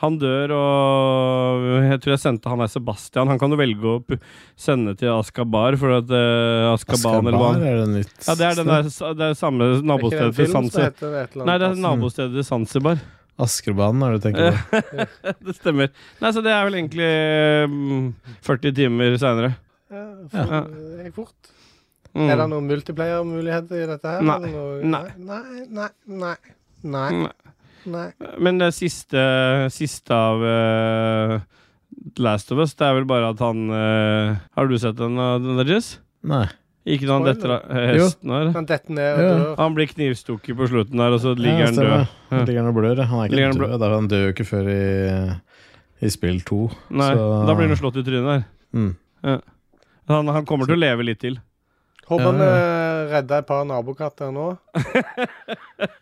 han dør, og jeg tror jeg sendte han der Sebastian. Han kan du velge å pu- sende til Askabar, for at eh, Askaban eller hva
Askabar
han
er det nytt.
Ja, det er den der, det er samme
Er ikke det en
nabostedet til
film som
Zanzibar.
heter et eller
Nei, det
annet?
er nabostedet til Zanzibar. *laughs*
Askerbanen er det du tenker
Eh,
på.
Det stemmer. Nei, så det er vel egentlig mm, 40 timer seinere.
Ja,
Ja. Mm.
for, det gikk fort. Er det noen multiplayer-muligheter i dette her?
Nei.
eller noe-
Nei.
Nei, nei, nei,
Mm,
nei, nei.
Men det siste, siste av eh, Last of Us. Det er vel bare at han eh, Har du sett den, eh, den der, Jess?
Nei.
Ikke når han
Spoiler.
detter av eh, hesten her.
Han detter ned og
Ja.
dør.
Han blir knivstukket på slutten der, og så ligger han død. Ja.
Han ligger han og blør. ja. Han er
Ligger
ikke
han
død. da. Han dør jo ikke før i, i spill to.
Nei,
Så-
Da blir han slått i trynet der.
Mm.
Han, han kommer til å leve litt til.
Håper han
Ja,
eh, redda et par nabokatter
*laughs*
nå.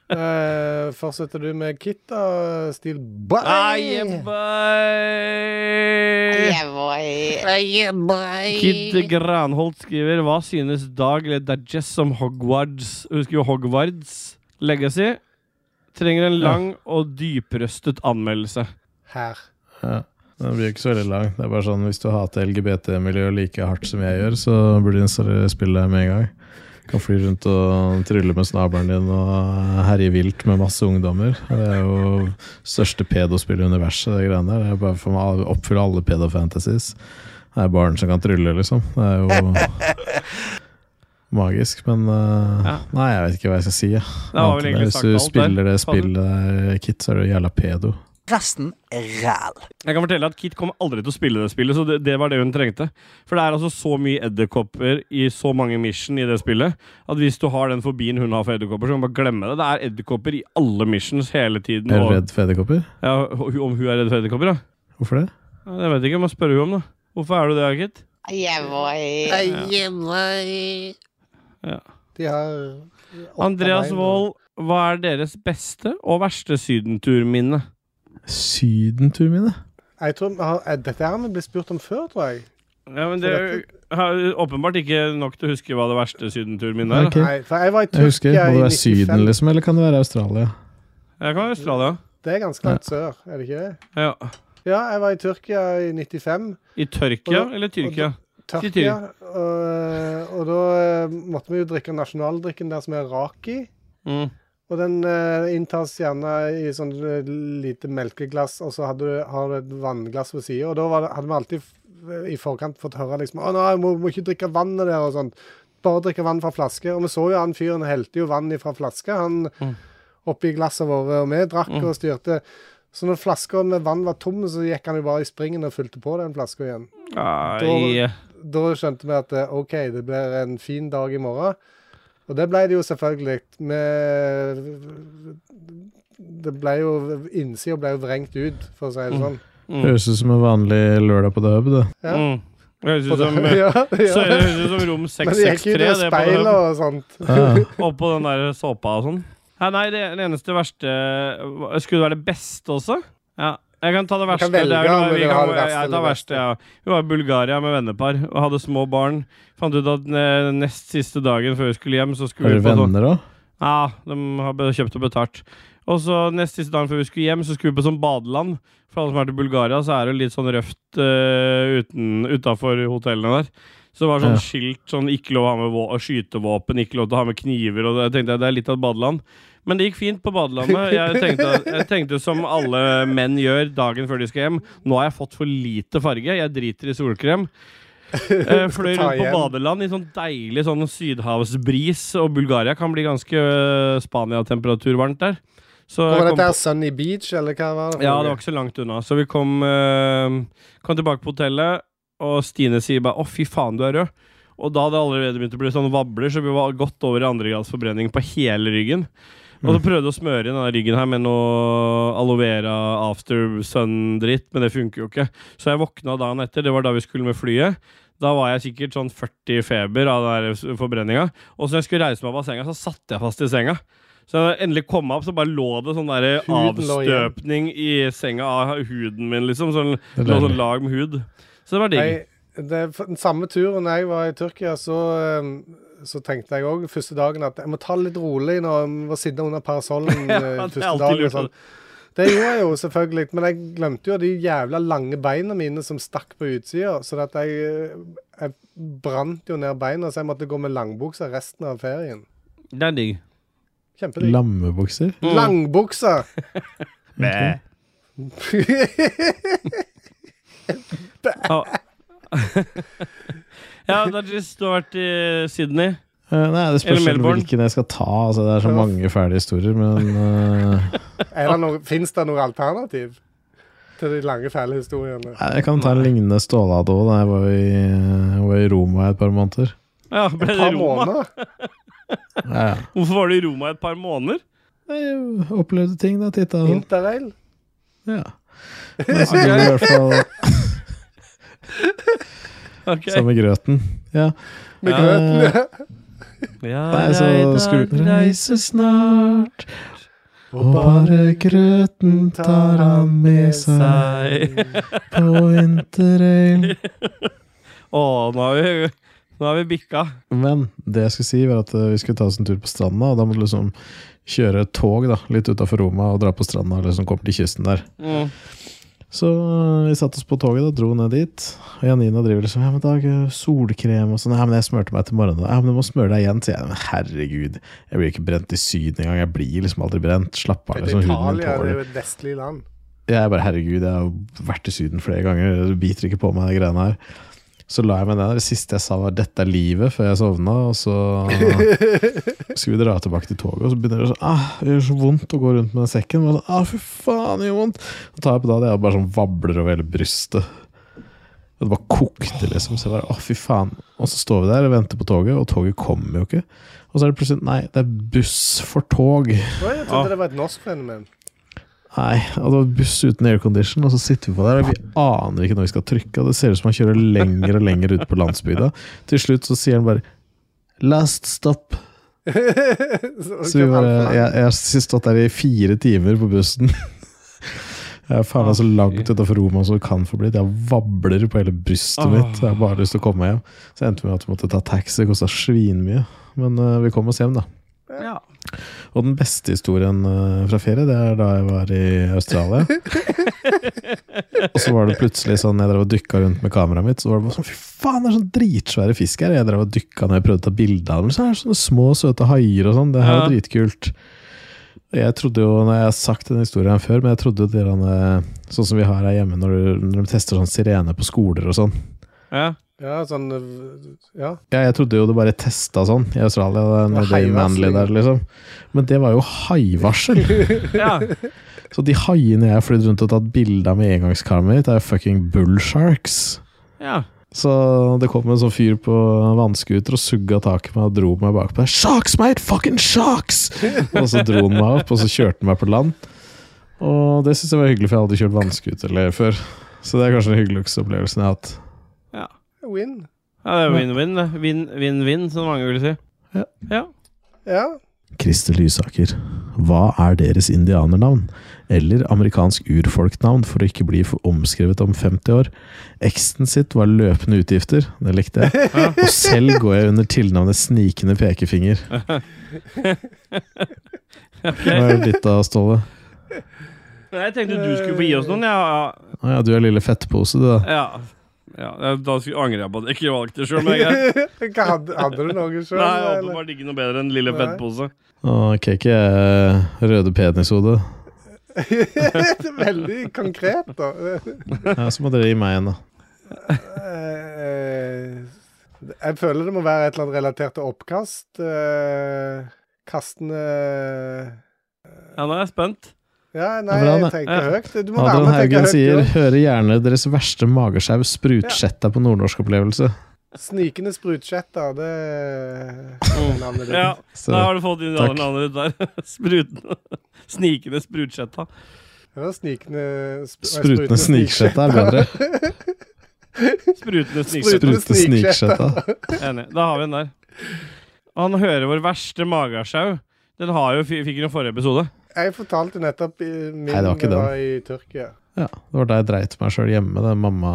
Eh, fortsetter du med Kit, da, Steel? Bye!
Aye, Kid Granholt skriver Hva synes Dag Ledagess om Hogwarts Husker jo Hogwarts Legacy Trenger en lang og dyprøstet anmeldelse
Her.
Ja. Den blir jo ikke så veldig lang. Det er bare sånn, Hvis du hater LGBT-miljøet like hardt som jeg gjør, så burde du installere spillet her med en gang. Kan fly rundt og trylle med snabelen din og herje vilt med masse ungdommer. Det er jo største pedospill i universet, det greiene der. Det er bare for meg å oppfylle alle pedofantasies. Det er barn som kan trylle, liksom. Det
*laughs*
er jo magisk. Men eh,
Ja.
nei, jeg vet ikke hva jeg skal si. jeg.
Det var vel
Annet enn
egentlig
Hvis
sagt
du
alt der
spiller det spillet der, Kit, så er du jævla pedo.
Resten er ræl.
Jeg kan fortelle at Kit kommer aldri til å spille det spillet Så det, det var det hun trengte For det er altså så mye edderkopper I så mange mission i det spillet At hvis du har den forbien hun har for edderkopper Så kan du bare glemme det Det er edderkopper i alle missions hele tiden
Er du
og-
redd for edderkopper?
Ja, hun- Om hun er redd for edderkopper da
Hvorfor det?
Ja, Jeg vet ikke, jeg må spørre hun om det Hvorfor er du det, Kit?
De har åtte
Andreas
bein.
Wold, hva er deres beste og verste sydenturminne?
Sydentur mine?
Jeg tror, vi har- eh, Dette her har vi blitt spurt om før, tror jeg.
Ja, men Det er åpenbart ikke nok til å huske hva det verste sydenturminnet er.
Ok.
da.
Nei, for jeg var i
Jeg
Tyrkia
husker, Må det
i
være Syden,
95.
liksom, eller kan det være Australia?
Jeg kan være Australia.
Det er ganske langt sør, er det ikke det?
Ja.
Ja, jeg var i Tyrkia i 95.
I Tyrkia eller Tyrkia?
Tyrkia. Og, og da eh, måtte vi jo drikke nasjonaldrikken der som er raki.
Mm.
Og den eh, inntas gjerne i sånn eh, lite melkeglass, og så hadde du, har du et vannglass ved sida. Og da var det, hadde vi alltid f- i forkant fått høre liksom Å nei, må, må ikke drikke vannet der og sånt. Bare drikke vann fra flaske. Og vi så jo han fyren helte jo vann fra flaske, han oppi glasset våre. Og vi drakk og styrte. Så når flaska med vann var tom, så gikk han jo bare i springen og fylte på den flaska igjen.
Ai.
Da skjønte vi at eh, OK, det blir en fin dag i morgen. Og det ble det jo selvfølgelig. Vi Det ble jo Innsida ble jo vrengt ut, for å si det sånn.
Mm.
Høres ut som en vanlig lørdag på dub. *laughs* Det.
Ja.
Mm. Det høres ut
Og
som,
da- *laughs* ja,
så det
ja.
høres ut som rom
*laughs* Men det gikk jo
663
til
det på den,
speil og sånt.
Ah,
oppå den der såpa og sånn. Nei, nei, det, det eneste verste Skulle det være det beste også? Ja. Jeg kan ta det
kan
verste.
velge
det er vel-
om du
vi
vil
kan-
ha det verste
jeg, jeg tar
eller
verste, ja. Vi var i Bulgaria med vennepar og hadde små barn. Fant ut at eh, nest siste dagen før vi skulle hjem, så
har
skulle
du
vi på sånn
venner òg?
Ja, de har be- kjøpt og betalt. Og så nest siste dagen før vi skulle hjem, så skulle vi på sånn badeland. For alle som har vært i Bulgaria, så er det litt sånn røft eh, uten, utafor hotellene der. Så det var sånn
Ja.
skilt sånn ikke lov å ha med vå skytevåpen, ikke lov til å ha med kniver. Og det, jeg tenkte det er litt av et badeland. Men det gikk fint på badelandet.
*laughs*
Jeg tenkte, jeg tenkte som alle menn gjør dagen før de skal hjem. Nå har jeg fått for lite farge. Jeg driter i solkrem.
*laughs*
Eh, fløy
Ta
rundt på
igjen.
badeland i sånn deilig sånn sydhavsbris, og Bulgaria kan bli ganske øh, Spania-temperatur varmt der. Så
Var
jeg
dette
kom,
her Sunny Beach, eller hva var det? for
ja, det
noe?
var ikke så langt unna. Så vi kom, øh, kom tilbake på hotellet, og Stine sier bare 'Å, fy faen, du er rød'. Og da hadde jeg allerede begynt å bli sånn vabler, så vi var godt over i andregradsforbrenning på hele ryggen. Og
Mm.
så prøvde jeg å smøre inn denne ryggen her med noe aloe vera after sun-dritt, men det funker jo ikke. Så jeg våkna dagen etter, det var da vi skulle med flyet. Da var jeg sikkert sånn 40 i feber av den forbrenninga. Og så jeg skulle reise meg av senga, så satte jeg fast i senga. Så jeg endelig kom meg opp, så bare lå det sånn der
Huden lå igjen.
avstøpning i senga av huden min, liksom. Sånn,
Det er
det lå sånn
deilig.
lag med hud. Så det var digg.
Nei, det, for den samme turen jeg var i Tyrkia, så, eh, så tenkte jeg òg første dagen at jeg må ta det litt rolig når jeg må sitte under
*laughs*
parasollen eh,
det er
første
alltid
dagen.
lurt,
og Sånn. Det gjorde jeg jo selvfølgelig, men jeg glemte jo de jævla lange beina mine som stakk på utsida. Så at jeg, eh, jeg brant jo ned beina, så jeg måtte gå med langbukser resten av ferien.
Det er digg.
Kjempedigg. Mm.
Lammebukser?
Langbukser! *laughs*
Bæ. *laughs* Ja, Dajis, du har vært i Sydney.
Eh, nei, det spørs
Eller
vel
Melbourne.
hvilken jeg skal ta. Altså, det er så
Ja.
*laughs* mange fæle historier, men eh,
Er det noe- Fins det noe alternativ? til de lange, fæle historiene.
Nei, Jeg kan ta en lignende stålade òg. Jeg var i, jeg var i Roma i et par måneder.
Ja,
Et
ble det
par
*laughs* Roma?
måneder.
Ja, ja.
Hvorfor var du i Roma i et par måneder?
Jeg opplevde ting da, titta og sånn.
Interrail.
*laughs* Ja. Men så gjorde jeg i hvert fall
Ok.
samme grøten. Ja.
Med
Ja.
grøten.
Ja,
Nei, så skulle vi reise snart, *laughs* og bare grøten tar han med seg på interrail.
Å, nå har vi, nå har vi bikka.
*laughs* Men det jeg skulle si, var at eh, vi skulle ta oss en tur på stranda, og da måtte vi liksom kjøre et tog da, litt utafor Roma og dra på stranda og liksom komme til kysten der.
Mm.
Så øh, vi satte oss på toget og dro ned dit. Og Janina driver liksom Ja, men Dag, øh, solkrem og sånn. Ja, men jeg smurte meg til morgenen. Ja, men du må smøre deg igjen, sier jeg. Men herregud, jeg blir ikke brent i Syden engang. Jeg blir liksom aldri brent. Slapp av,
Det
liksom.
er
Huden min
Italia, det er
tåler
jo et vestlig land.
Jeg er bare herregud, jeg har vært i Syden flere ganger. Det biter ikke på meg, de greiene her. Så la jeg meg ned. Det siste jeg sa, var 'dette er livet', før jeg sovna. Og så skulle vi dra tilbake til toget, og så begynner det sånn ah, Det gjør så vondt å gå rundt med den sekken. Og så, ah, fy faen, det gjør vondt Så tar jeg på det, og bare sånn vabler over hele brystet. Og det bare kokte, liksom. Så jeg bare, å fy faen Og så står vi der og venter på toget, og toget kommer jo ikke. Og så er det plutselig Nei, det er buss for tog.
Å, jeg
Ja.
trodde det var et norsk fenomen.
Nei, og det var buss uten aircondition, og så sitter vi på der, og vi aner ikke når vi skal trykke, og det ser ut som han kjører lenger og lenger ut på landsbygda. Til slutt så sier han bare 'last stop'.
Så-
Så vi bare, jeg, jeg har stått der i fire timer på bussen. Jeg er faen meg så langt utafor Roma som det kan få blitt. Jeg vabler på hele brystet
Åh.
mitt. Jeg har bare lyst til å komme meg hjem. Så endte vi med at vi måtte ta taxi. Det kosta svinmye. Men eh, vi kom oss hjem, da.
Ja.
Og den beste historien eh, fra ferie, det er da jeg var i Australia. og så var det plutselig sånn, jeg drev og dykka rundt med kameraet mitt, så var det bare sånn Fy faen, det er sånn dritsvære fisk her! Jeg drev og dykka når jeg prøvde å ta bilde av dem. Så er det sånne små, søte haier og sånn. Det her
Ja.
er dritkult. Og Jeg trodde jo, når jeg har sagt den historien før, men jeg trodde jo det der, eh, sånn som vi har her hjemme når, du- når de tester sånn sirene på skoler og sånn.
ja.
Ja, sånn øh, Ja.
Ja, jeg trodde jo det bare testa sånn i Australia, nede i
Haivarsling.
Manly der, liksom. Men det var jo haivarsel!
ja.
Så de haiene jeg har flydd rundt og tatt bilde av med engangskameraet mitt, er fucking bullsharks.
ja.
Så det kom en sånn fyr på vannskuter og sugga tak i meg og dro meg bakpå. Sharks, mate! Fucking sharks! Og så dro han meg opp, og så kjørte han meg på land. Og det syns jeg var hyggelig, for jeg hadde aldri kjørt vannskuter eller før. Så det er kanskje den hyggeligste opplevelsen jeg har hatt.
Win.
Ja, det er win-win. det. Win-win-win, som mange vil si.
Ja.
ja.
Ja.
Christer Lysaker, hva er deres indianernavn? Eller amerikansk urfolknavn, for å ikke bli for omskrevet om 50 år. Eksten sitt var løpende utgifter, det likte
*laughs*
jeg. Og selv går jeg under tilnavnet Snikende
*laughs*
pekefinger. Hva er det ditt da, Ståle?
Men Jeg tenkte du skulle få gi oss noen, ja.
Å ja, du er lille fettpose, du da.
ja. ja. ja da skulle- angrer jeg på at jeg ikke valgte det sjøl, men jeg
*laughs* Hva, hadde, hadde du noe sjøl?
Nei, jeg håper bare det ikke noe bedre enn lille
Nei.
fettpose.
Å, Cake er eh, røde penishode.
*laughs* Veldig konkret, da.
Ja, så må dere gi meg en, da.
Eh, Jeg føler det må være et eller annet relatert til oppkast. eh, Kastende
Ja, nå er jeg spent.
Ja, nei,
Ja,
jeg
men
tenker
ja.
høyt. Du må være
Adrian
med og tenke
Haugen
høyt.
sier
du også.
'hører gjerne deres verste magesjau sprutsjetta på nordnorsk opplevelse'.
Snikende sprutsjetter, det er navnet ditt.
Ja,
Så
Da har du fått
Takk.
indianernavnet ditt der. *laughs* Spruten. Snikende sprutsjetta.
Ja, snikende sp nei,
sprutende sniksjetta er bedre.
Sprutende sniksjetta.
Sprut-
Sprute snikskjetta.
Enig. Da har vi den der. Han hører vår verste magesjau. Den har jo, fi- fikk jo forrige episode.
*laughs* Jeg fortalte nettopp i min
Nei, det var ikke
det
den.
var i Tyrkia.
*laughs* Ja, det var da jeg dreit meg sjøl hjemme. Da. Mamma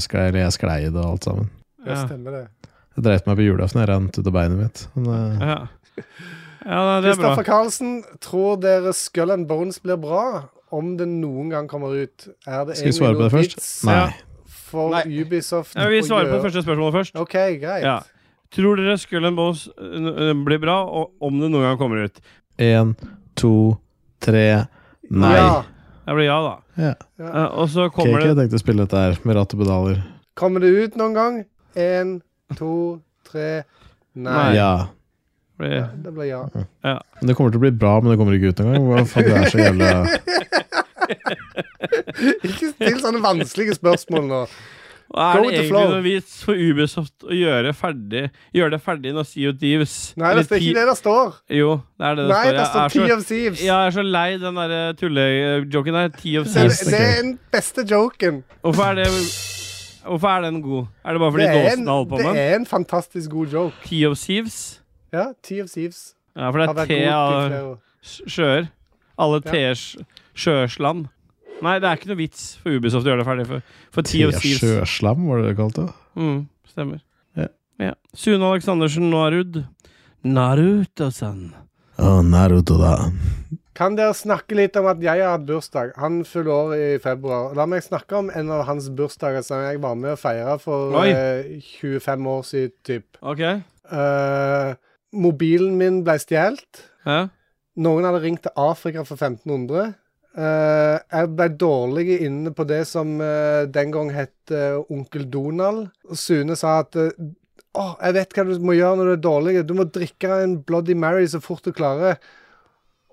sklei, eller jeg sklei det og alt sammen.
Ja,
Ja.
stemmer det.
Jeg dreit meg på julaften, jeg rant ut av beinet mitt. Men, eh,
Ja, ja nei, det er bra.
Kristoffer Carlsen, tror dere Skull and Bones blir bra om det noen gang kommer ut? Er det
skal vi
egentlig
svare på
noe
det først?
vits
Nei.
Ja.
for
Nei.
Ubisoft
Ja, vi
å
svarer på
gjøre?
det første spørsmålet først.
OK, greit.
Ja. Tror dere Skull and Bones øh, øh, blir bra, og om det noen gang kommer ut?
Én, to, tre Nei.
Ja.
Det blir ja, da.
Ja.
Eh, og så
Okay,
kommer
ikke jeg
det
tenkte å spille dette her med ratt og pedaler.
Kommer det ut noen gang? Én, to, tre Nei.
Nei.
Ja.
blir,
Ja, Det blir ja.
*laughs* Men det kommer til å bli bra, men det kommer ikke ut engang. Hva faen, det er så jævla
Ikke still sånne vanskelige spørsmål nå.
Hva er
Go
det
with the
egentlig
flow.
noe vits for Ubisoft å gjøre, ferdig, gjøre det ferdig når Sea of Thieves
Nei,
eller
det er
ti-
ikke det det står.
Jo, det er det det
Nei, det
Jeg er
står
så-
Tea of Thieves.
Ja, jeg er så lei den der eh, tullejoken der. Tea of
Det,
Thieves.
det er den beste joken.
Hvorfor er det Hvorfor er den god? Er det bare fordi
Det er, en,
Dawson har holdt på
det
med den?
er en fantastisk god joke.
Tea of Thieves?
Ja, Tea of Thieves
Ja, for det
har
er
vært
te
god i
av
flere år.
sj- sjøer. Alle
Ja.
teers sjøslam. Nei, det er ikke noe vits for Ubisoft å gjøre det ferdig. For, for Tea of Thieves
Sjøslam, var det det kalte?
mm, Stemmer.
Ja.
Ja. Sune Aleksandersen Narud. Naruto-san.
Oh, Naruto, da.
Kan dere snakke litt om at jeg har hatt bursdag? Han fyller år i februar. La meg snakke om en av hans bursdager som jeg var med å feire for
Oi.
eh, 25 år siden. Typ.
OK?
Eh, mobilen min ble stjålet.
Ja.
Noen hadde ringt til Afrika for 1500. Eh, jeg ble dårlig inne på det som eh, den gang het eh, Onkel Donald. Og Sune sa at eh, «Åh, jeg vet hva du må gjøre når du er dårlig. Du må drikke en Bloody Mary så fort du klarer.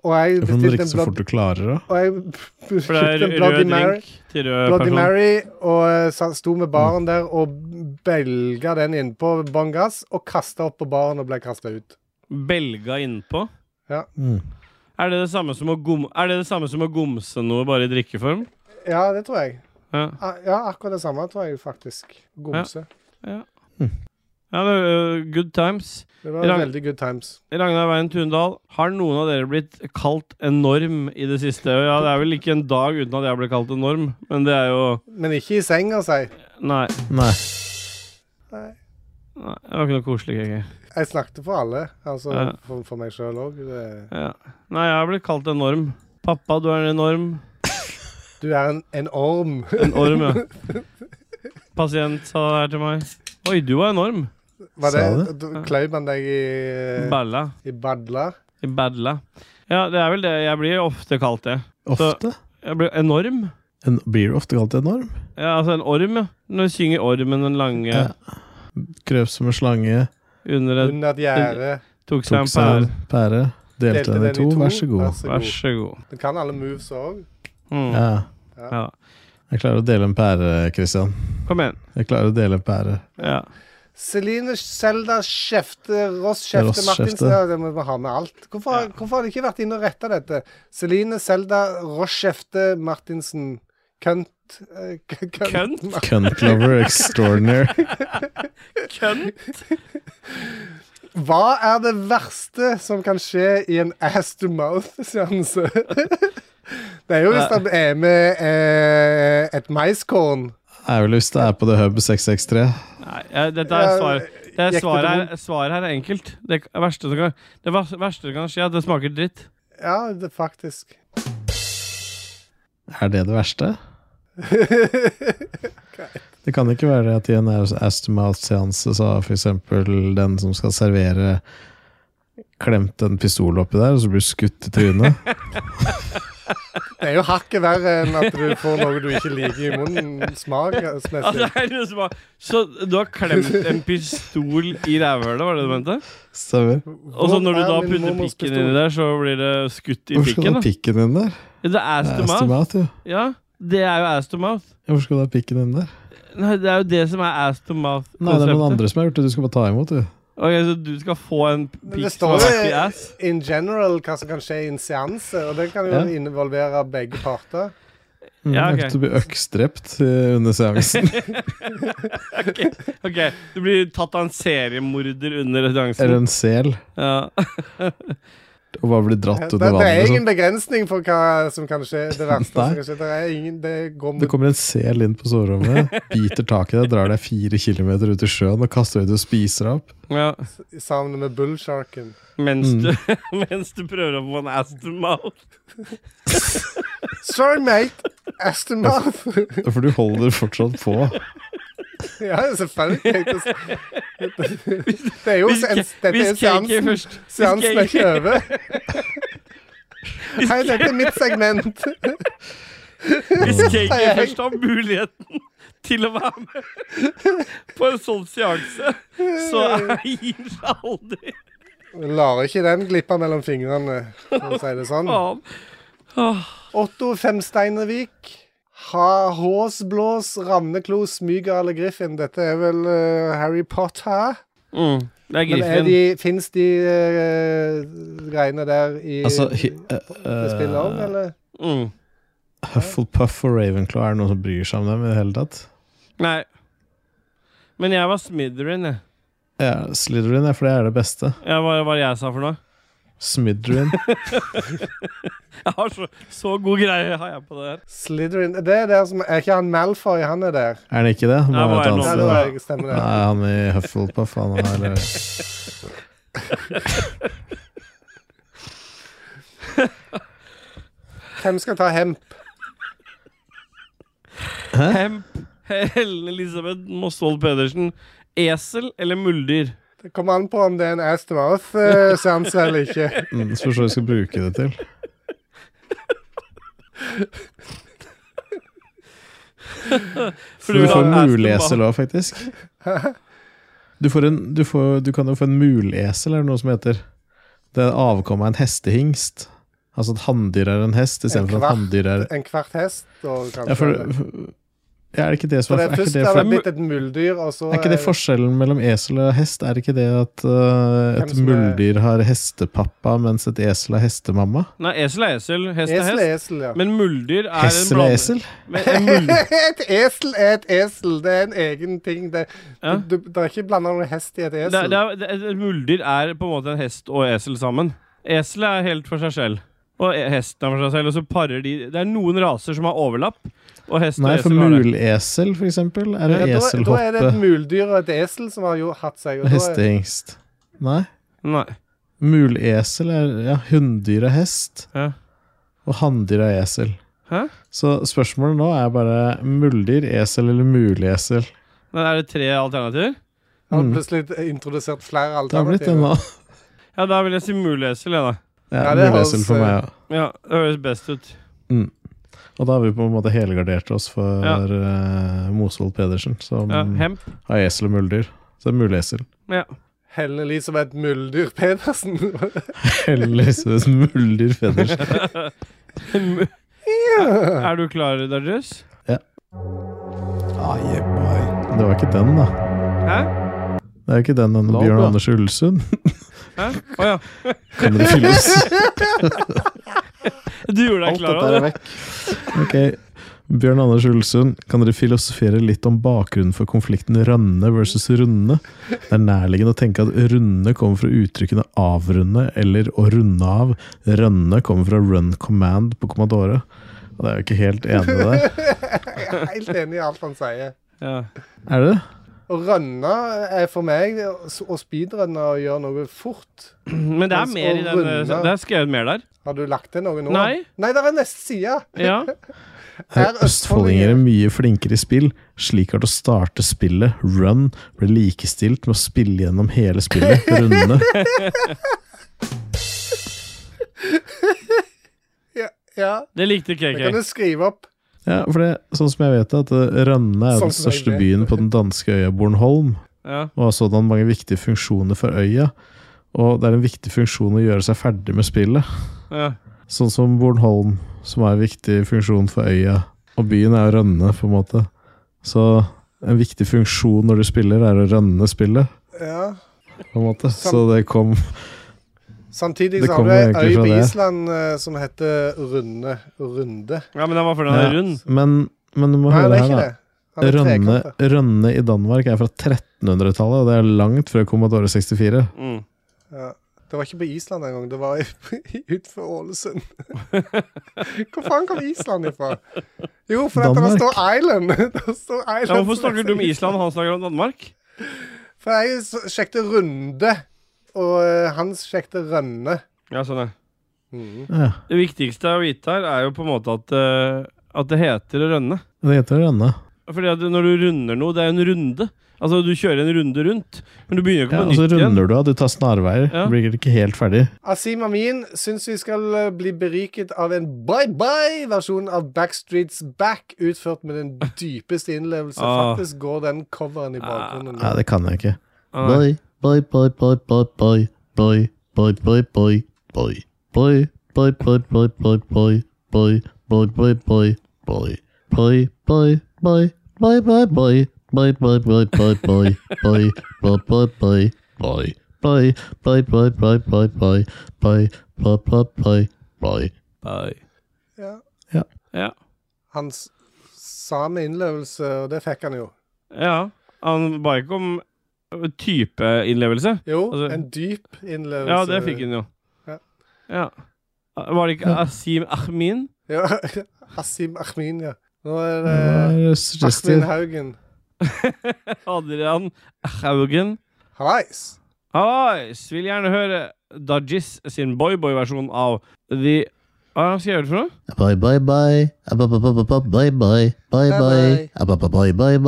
Og jeg
Hvorfor må du
bestilte
drikke
en
så fort
Bloody
du klarer, da?
og jeg
For det
bestilte en
er
Bloody
rød
Mary,
drink til rød
Bloody
person.
Mary og eh, sa- sto
Mm.
med baren der og belga den innpå bånn gass og kasta opp på baren og ble kasta ut.
Belga innpå.
Mm.
Er det det samme som å, gom er det det samme som å gomse noe bare i drikkeform?
Ja, det tror jeg.
Ja.
Ah, Ja, akkurat det samme tror jeg faktisk. Gomse.
Ja, det, er, uh, good times.
Det var
Ragn-
veldig good times.
Ragnar Weien Tundal, har noen av dere blitt kalt enorm i det siste? Ja, det er vel ikke en dag uten at jeg ble kalt enorm, men det er jo
Men ikke i altså. senga, si.
Nei.
Nei.
nei det var ikke noe koselig, egentlig.
Jeg snakket for alle, altså
Ja.
for, for meg sjøl òg.
Ja. Nei, jeg har blitt kalt enorm. Pappa, du er en enorm.
Du er en, en orm.
En orm, ja. Pasient sa det her til meg. Oi, du var enorm.
*laughs* Var det,
Sa
du, Kløyv han deg i, Eh.
Balla.
i badla?
I badla. Ja, det er vel det. Jeg blir ofte kalt det.
Ofte?
Jeg blir enorm.
En, blir du ofte kalt enorm?
Ja, altså en orm, ja. Når du synger 'Ormen den lange'
Ja. Krøp som en slange,
under et
Under et gjerde.
Tok seg
tok
en
seg
pære.
en pære, delte den i to. Vær så god.
Vær så god.
Du kan alle moves òg.
Mm.
Ja.
Ja.
Jeg klarer å dele en pære, Christian.
Kom igjen.
Jeg klarer å dele en pære.
Ja.
Celine Selda Skjefte, Ross Skjefte
Ross
Martinsen
Skjefte.
ja, det må Vi ha med alt. Hvorfor, hvorfor har de ikke vært inne og retta dette? Celine Selda Ross Skjefte Martinsen. Kønt. eh, k-
Kønt?
Cuntlover extraordinaire.
Hva er det verste som kan skje i en ass-to-mouth-seanse? *laughs* Det er jo hvis han er med eh, et maiskorn.
Er vel hvis det er på The Hub 663.
Nei, ja, dette er svar. Det er
Gikk det
svaret, her, svaret her er enkelt. Det verste som kan, det vers- verste som kan skje, er at det smaker dritt.
Ja, det faktisk.
Er det det *laughs* verste? Det kan ikke være at i en ass-to-mouth-seanse så har f.eks. den som skal servere, klemt en pistol oppi der, og så blir du skutt i trynet.
*laughs*
Det er jo hakket verre enn at du får noe du ikke liker i munnen
Altså, *laughs*
smaksmessig.
er det som er- så du har klemt en pistol i rævhølet, var det du mente?
Stemmer.
Og så når du da
Hvor er min
putter
mormors
pikken
pistol?
inni der, så blir det skutt i
Hvorfor skal du
pikken?
ha
da?
pikken din der?
Det er ass
Det
to
er
mouth.
Ass-to-mouth, jo.
Ja, det er jo ass to mouth.
Hvorfor skal du ha pikken din der?
Nei, det er jo det som er ass to mouth-konseptet.
Nei, det er noen andre som har gjort det. Du skal bare ta imot, du.
Ok, Så du skal få en
Men
pikk
det
som har
står
vært i
jo
ass?
in general hva som kan skje i en seanse, og det kan jo
Ja.
involvere begge parter.
Mm,
Ja, ok.
okay. Du blir øksdrept eh, under seansen.
*laughs* Ok, du blir tatt av en seriemorder under
Eller
seansen.
en sel.
Ja.
Og bare blir dratt
Det,
under
det er
vannet.
ingen
Sånn.
begrensning for hva som kan skje. Det verste som
Nei.
kan skje. Det er ingen Det går
Det
mot
kommer en sel inn på soverommet, biter tak i deg, drar deg fire kilometer ut i sjøen og kaster deg ut og spiser deg opp.
ja.
sammen med bullsharken.
Mens,
Mm.
du, *laughs* mens du prøver å få en Aston Mouth.
Sorry, mate. Aston Mouth.
For du holder fortsatt på.
*laughs* ja, selvfølgelig. Det, det er jo
Hvis,
en,
Ke-
dette er
hvis
en
Kiki
seansen,
først hvis
seansen er
Kiki-
ikke over. Hei, dette er mitt segment.
Hvis Kiki
jeg-
først har muligheten til å være med på en sånn seanse, så er- gir han seg aldri
Lar ikke den glippe mellom fingrene, for å si det sånn.
faen.
Otto Femsteinervik. Ha Håsblås, Ravneklo, Smygale, Griffin. Dette er vel eh, Harry Potter?
Mm. Det er
Men er
Griffin.
de, fins de eh, greiene der i
Altså,
i-
hi- eh,
det spillet òg,
eh,
eller?
Mm.
Hufflepuff og Ravenclaw, er det noen som bryr seg om dem i det hele tatt?
Nei. Men jeg var Smitherin, jeg.
Ja, Slytherin, ja, for det er det beste.
Ja, hva hva var det jeg sa for noe?
Smidrin.
Jeg har så, så god greie har jeg på det her.
Slytherin Det er der som Er ikke han Malfoy? Han er der.
Er han ikke det? Han
Nei,
må
hva
jo
er
ta
det
ansvar,
Ja,
nå?
da.
det var, stemmer det.
Nei, han i Hufflepuff, han er eller
Hvem skal ta hemp?
Hemp, Helen Elisabeth Mosvold Pedersen, esel eller muldyr?
Det kommer an på om det er en ass to mouth-seanse eller ikke.
Mm, Spørs hva vi skal bruke det til.
du
For du
vil
får
ha en
mulesel
Aston
òg, faktisk. Du, får en, du, får, du kan jo få en mulesel, er det noe som heter. Det er avkommet av en hestehingst. Altså at hanndyr er en hest istedenfor at
kvart.
hanndyr er
En kvart hest og kanskje
ja, for, ja, er det ikke det
Så
som
det
er,
er
er, ikke
først
det
har det
for,
blitt et muldyr, og så
er ikke det
er-
forskjellen mellom esel og hest? Er det ikke det at øh,
Hvem
et
som er-
muldyr har hestepappa, mens et esel har hestemamma?
Nei, esel er esel, hest er
Esel
hest.
er esel, ja.
Men muldyr er en
Hessel og
blanding.
esel?
Men en muldyr.
et esel er et esel. Det er en egen ting. Det,
Ja.
du, du, det er ikke blanda noen hest i et
Det,
esel.
det er, det, et muldyr er på en måte en hest og esel sammen. Eselet er helt for seg selv. Og e- hesten er for seg selv, og så parer de Det er noen raser som har overlapp, og hest
Nei,
og
for
esel har det.
mulesel, for eksempel, er det
ja, da, da er det
eselhoppe
et muldyr og et esel som har jo hatt seg. Og
og
da er,
hestehingst. Nei.
Nei.
Mulesel er ja, hunndyr er hest,
Ja.
og hanndyr er esel.
Hæ?
Så spørsmålet nå er bare muldyr, esel eller mulesel.
Men er det tre alternativer?
har
Mm.
plutselig introdusert flere
Det har blitt det
alternativer.
nå.
Ja, da vil jeg si mulesel, jeg, da.
Ja,
Ja, det
mulesel
høres,
for meg, ja.
Ja, det høres best ut.
Og da har vi på en måte helgardert oss for
Ja.
eh, Mosvold Pedersen, som
Ja, hemp. *laughs*
har esel og muldyr. Så det er mulesel.
Helle Elisabeth Muldyr *laughs* Pedersen.
Eller så muldyr Pedersen.
er du klar, Dodgers?
Ah, yeah, boy.
Det var ikke den, da.
Hæ?
Det er jo ikke den den
Lov,
Bjørn
da.
Anders Ulsund.
Hæ? Å ja.
Kan det fylles?
Du gjorde deg
Alt
klar
dette
over
er
det?
vekk.
Ok, Bjørn Anders Ulsund, kan dere filosofere litt om bakgrunnen for konflikten Rønne versus Runde? Det er nærliggende å tenke at Runde kommer fra uttrykkene avrunde eller å runde av. Rønne kommer fra run command på Commodore. Og det er jo ikke helt enig i det.
*laughs* Jeg er helt enig i alt han sier.
Ja.
Er det det?
Å rønne er for meg å speedrunne og gjøre noe fort.
Men det
Mens
er mer i
å
den eh,
runde-
Det er skrevet mer der.
Har du lagt til noe nå?
Nei.
Nei, det er neste side.
Ja.
Er østfoldinger er mye flinkere i spill, slik at å starte spillet, run, ble likestilt med å spille gjennom hele spillet, runde.
Ja, ja.
Det likte
Det kan
KK.
du skrive opp.
Ja, for det, sånn som jeg vet at eh, Rønne er jo den
Sånn som jeg
største
vet.
byen på den danske øya Bornholm.
Ja.
og har sådan mange viktige funksjoner for øya. Og det er en viktig funksjon å gjøre seg ferdig med spillet.
ja.
Sånn som Bornholm, som er en viktig funksjon for øya. Og byen er å rønne, på en måte. Så en viktig funksjon når du spiller, er å rønne spillet.
Ja.
På en måte. Så det kom
Samtidig
Det
så
kommer
har du
egentlig
ei øy
fra
på
det.
Island eh, som heter Runde. Runde.
ja, men den var for den er
Ja.
rund.
Men, men du må
Nei, det
høre
er
her,
ikke
da.
det. Han er
Rønne,
trekanta.
Rønne i Danmark er fra 1300-tallet, og det er langt før Commodore 64.
Mm.
Ja. Det var ikke på Island engang, det *laughs* var utenfor Ålesund. *laughs* Hvor faen kom Island ifra? Jo, for at det
Danmark.
står Island. *laughs* Det står Island
Ja, hvorfor
som
snakker
heter
du om Island, og han snakker om Danmark?
For jeg s- sjekket Runde, og eh, han sjekket Rønne.
Ja, sånn ja.
Ja,
Det viktigste å vite her er jo på en måte at, eh, at det heter å rønne.
det heter Rønne.
Fordi at når du runder noe, det er jo en runde. Altså, du kjører en runde rundt, men du begynner jo ikke
Ja,
på
og så
nytt igjen.
runder du av, du tar snarveier.
Ja.
Blir ikke helt ferdig.
Asim Amin syns vi skal eh, bli beriket av en bye-bye-versjon av Backstreets Back, utført med den dypeste innlevelse.
Ah.
Faktisk går den coveren i bakgrunnen.
Nei, det kan jeg ikke.
Ah, nei.
Boy, boy, boy, boy, boy, boy, boy, boy, boy, boy, boy, boy, boy, boy, boy, boy, boy, boy, boy, boy, boy, boy, boy, boy, boy, boy, boy, boy, boy, boy, boy, boy, boy, boy, boy, boy, boy, boy, boy, boy, boy, boy, boy, boy, boy, boy, boy, boy, boy.
Ja.
Ja.
Ja.
Han s- sa med innlevelse, og det fikk han jo.
ja. Han ba ikke om eh, typeinnlevelse.
Jo,
Altså-
en dyp innlevelse.
Ja, det fikk hun jo.
Ja.
Ja. Var det ikke Asim Ahmin?
Ja, *laughs* Asim Ahmin, ja. Nå er det Ahmin
Suggested.
Haugen.
Adrian Haugen?
Hallais!
Hallais! Vil gjerne høre Dajis sin boyboy-versjon av The Hva skal jeg gjøre for noe?
Bye bye bye. Bye bye bye bye bye bye bye bye. Bye bye bye bye.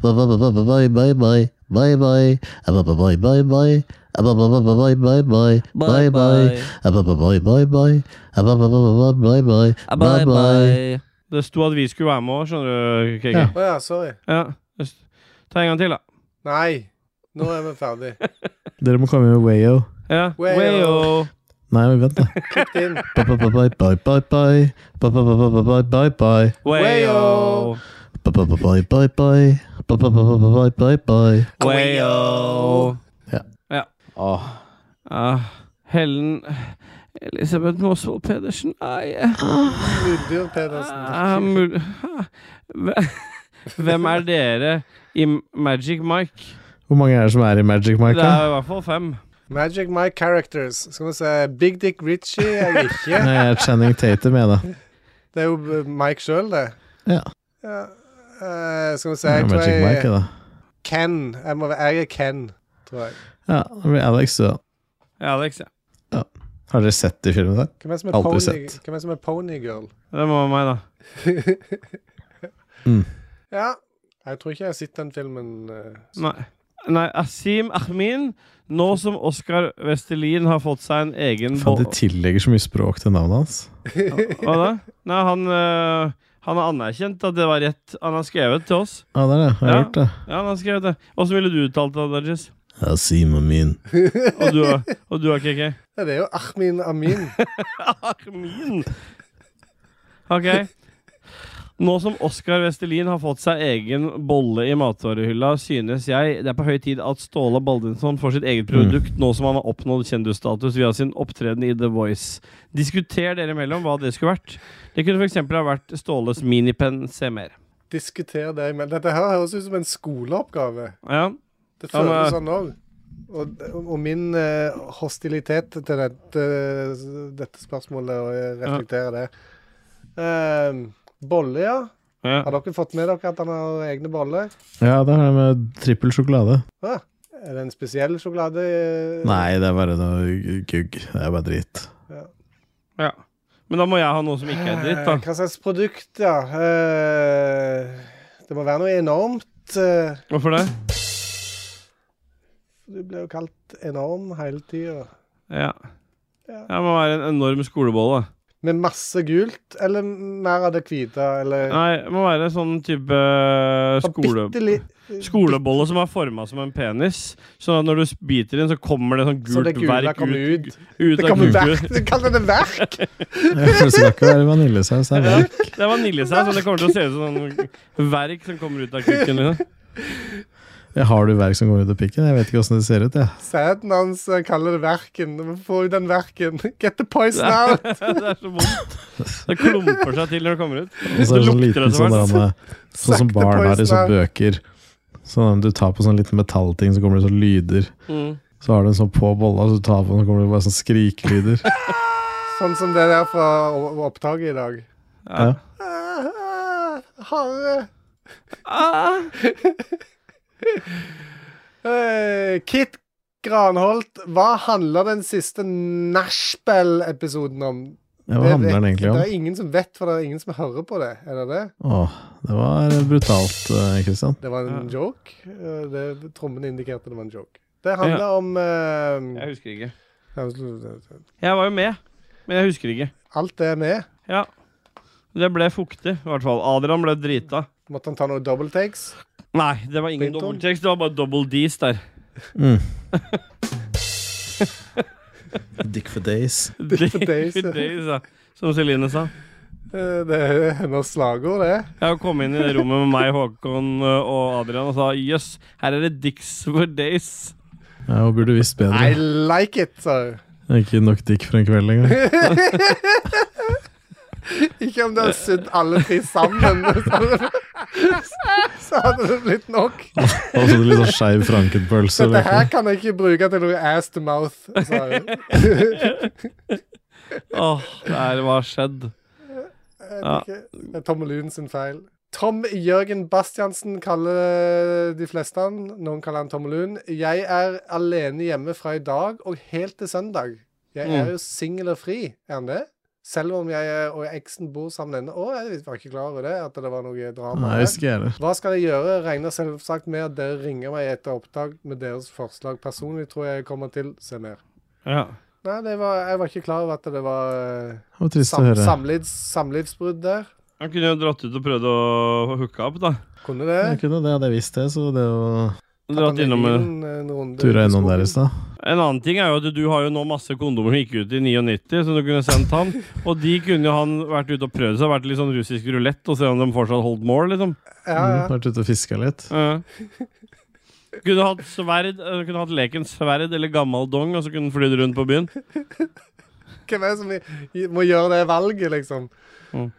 Bye bye bye bye bye bye bye. Bye bye bye bye bye. Bye bye bye bye bye bye. Bye bye. Bye bye bye bye. Bye bye bye bye. Bye bye.
Det sto at vi skulle være med òg, skjønner du, KG.
Ja.
Å ja, sorry.
Ja. Just- Ta en gang til, da.
Nei, nå er vi ferdig.
Dere må komme med Wayo.
Ja.
Wayo.
Wayo.
Nei, men vent, da.
*laughs*
Klipp det inn.
Bye bye bye bye bye bye. Bye bye bye bye bye bye bye.
Wayo.
Bye bye bye bye bye. Bye bye bye bye bye.
Wayo.
Åh,
Ah, Helen Elisabeth Mosvold Pedersen Nei, eh,
Ludvig Pedersen.
ah, mul- ah, hve- *laughs* Hvem er dere i Magic Mike?
Hvor mange er det som er i Magic
Det
Mike?
er i hvert fall fem.
Magic My Characters. Skal vi se Big Dick Ritchie er jeg ikke.
*laughs* Nei, jeg er Channing Tatum, jeg, da.
Det er jo eh, Mike sjøl, det.
Ja.
Ja, eh, skal vi se
Jeg
Jeg
er
tror
Magic Mike,
jeg
da.
Ken. Jeg, må, være- jeg er Ken, tror jeg.
Ja, det blir Alex, da.
Ja, Alex, ja.
Har dere sett de filmene der?
Hvem er som er
Aldri
pony,
sett.
hvem er som er ponygirl?
Det må være meg, da.
Mm.
Ja. Jeg tror ikke jeg har sett den filmen. eh,
Nei. Nei, Asim Ahmin, nå som Oskar Vestelin har fått seg en egen
Faen, de
bo-
tillegger så mye språk til navnet hans.
Hva da? Nei, han, øh, han har anerkjent at det var rett. Han har skrevet til oss.
Ja, det er det. Jeg har
Ja.
gjort det.
Ja, han har skrevet det. Åssen ville du uttalt det, Dodges?
Asim Amin.
Og du, og du har KK?
Ja, det er jo Ahmin
*laughs*
Amin.
Armin! Ok. Nå som Oskar Vestelin har fått seg egen bolle i matvarehylla, synes jeg det er på høy tid at Ståle Baldinsson får sitt eget produkt, nå som han har oppnådd kjendisstatus via sin opptreden i The Voice. Diskuter dere imellom hva det skulle vært. Det kunne f.eks. ha vært Ståles minipenn se mer.
Diskuter det. Men dette her høres ut som en skoleoppgave.
Ja.
Det
Ja, men-
føles sånn òg. Og, og min eh, hostilitet til dette, dette spørsmålet, og jeg reflekterer det. Ehm, bolle, ja.
ja.
Har dere fått med dere at han har egne boller?
Ja, det har jeg med trippel sjokolade.
Ah, er det en spesiell sjokolade? eh,
Nei, det er bare noe gugg. Det er bare drit.
ja. Men da må jeg ha noe som ikke er dritt, da.
*laughs*
Eh, Hva slags produkt, ja? Eh, det må være noe enormt. eh,
Hvorfor det?
Du blir jo kalt enorm hele tida.
Ja.
Ja.
Det må være en enorm skolebolle.
Med masse gult, eller mer av det hvite, eller
Nei, det må være sånn type eh,
Og
skole...
bitte li-
Skolebolle som er forma som en penis. Sånn at når du biter i den, så kommer det sånn
Så
gult
det gule
verk
kommer
ut,
ut.
ut
Det
av
kommer verk.
kuken.
Du kaller *laughs* det verk?
*laughs* Det skal ikke være vaniljesaus. Det er
Ja,
bare
det er vaniljesaus, så det kommer til å se ut som sånn verk som kommer ut av kuken. Liksom. *laughs*
Jeg har du verk som går ut av pikken? Jeg vet ikke åssen det ser ut. Jeg.
Sæden hans eh, kaller det verken. Du må Få ut den verken. *laughs* Get the poison out.
Det er så vondt. Det klumper seg til når det kommer ut.
Og så er det sånn
Det lukter
liten
etter
sånn
hvert.
der, Sånn som
Sakte
barn har i
poison
sånne
out.
bøker. Sånn at Du tar på sånn liten metallting, så kommer det sånn lyder.
Mm.
Så har du en sånn på bolla, så du tar på den, så kommer det bare sånn skrikelyder.
Sånn som det der fra o- opptaket i dag.
Ja.
Ja.
Ah, ah, Harre.
Ah,
Eh, Kit Granholt, hva handler den siste Nachspiel-episoden om?
Ja, hva
Det
handler den
vet-
egentlig om?
Det er ingen som vet, for det er ingen som hører på det. Er det det?
Åh, det var brutalt, eh, Christian.
Det var en
Ja.
joke. Eh, Det, trommene indikerte det var en joke. Det handler om eh,
jeg husker ikke.
ja,
Jeg var jo med, men jeg husker ikke.
Altså, Alt det er med.
Ja. Det ble fuktig, i hvert fall. Adrian ble drita.
Måtte han ta noen double takes?
Nei, det var ingen
Clinton?
dobbeltkjeks. Det var bare double D's der. *laughs*
Mm. Dick for days.
Dick
days, ja.
days, ja. Som Celine sa.
Eh, Det er hennes slagord, det.
Jeg kom inn i det rommet med meg, Håkon eh, og Adrian og sa jøss, her er det dicks for days.
Ja, hun burde visst bedre.
I like it, sa hun.
Ikke nok dick for en kveld
*laughs*
engang.
Ikke om du hadde sydd alle tre sammen, *laughs* så hadde det- så hadde det blitt nok.
Og så litt sånn skeiv frankenpølse. liksom.
Dette her kan jeg ikke bruke til noe ass to mouth, sa hun. *laughs*
Åh, det er hva har skjedd.
Jeg
Ja.
vet ikke. Det er Tom Lund sin feil. Tom Jørgen Bastiansen kaller eh, de fleste han. Noen kaller han Tom Lund. Jeg er alene hjemme fra i dag og helt til søndag. Jeg
Mm.
er jo singel og fri, er han det? Selv om jeg og eksen bor sammen ennå. Å, jeg var ikke klar over det, at det var noe drama.
Nei,
her.
visste ikke jeg heller.
Hva skal jeg gjøre? Regner selvsagt med at dere ringer meg etter opptak med deres forslag. Personlig tror jeg jeg kommer til Se mer.
Ja.
Nei, det var, jeg var ikke klar over at det var eh,
Det var trist
sam,
å høre.
samlivs, samlivsbrudd der.
Han kunne jo dratt ut og prøvd å hooke opp, da.
Kunne det?
Jeg kunne det, hadde jeg visst det, så det å
Dratt innom eh,
en, en runde
ture
i
innom
skogen.
der i stad.
En annen ting er jo at du har jo nå masse kondomer som gikk ut i 99, som du kunne sendt han. Og de kunne jo han vært ute og prøvd seg, vært litt sånn russisk rulett og se om de fortsatt holdt mål, liksom.
Ja,
Mm,
ja.
vært ute og fiska litt.
Ja. *laughs* Kunne hatt sverd, eh, kunne hatt leken sverd eller gammel dong, og så kunne den flydd rundt på byen.
Mm.
Hvem er det som i- må gjøre det valget, liksom?
Mm.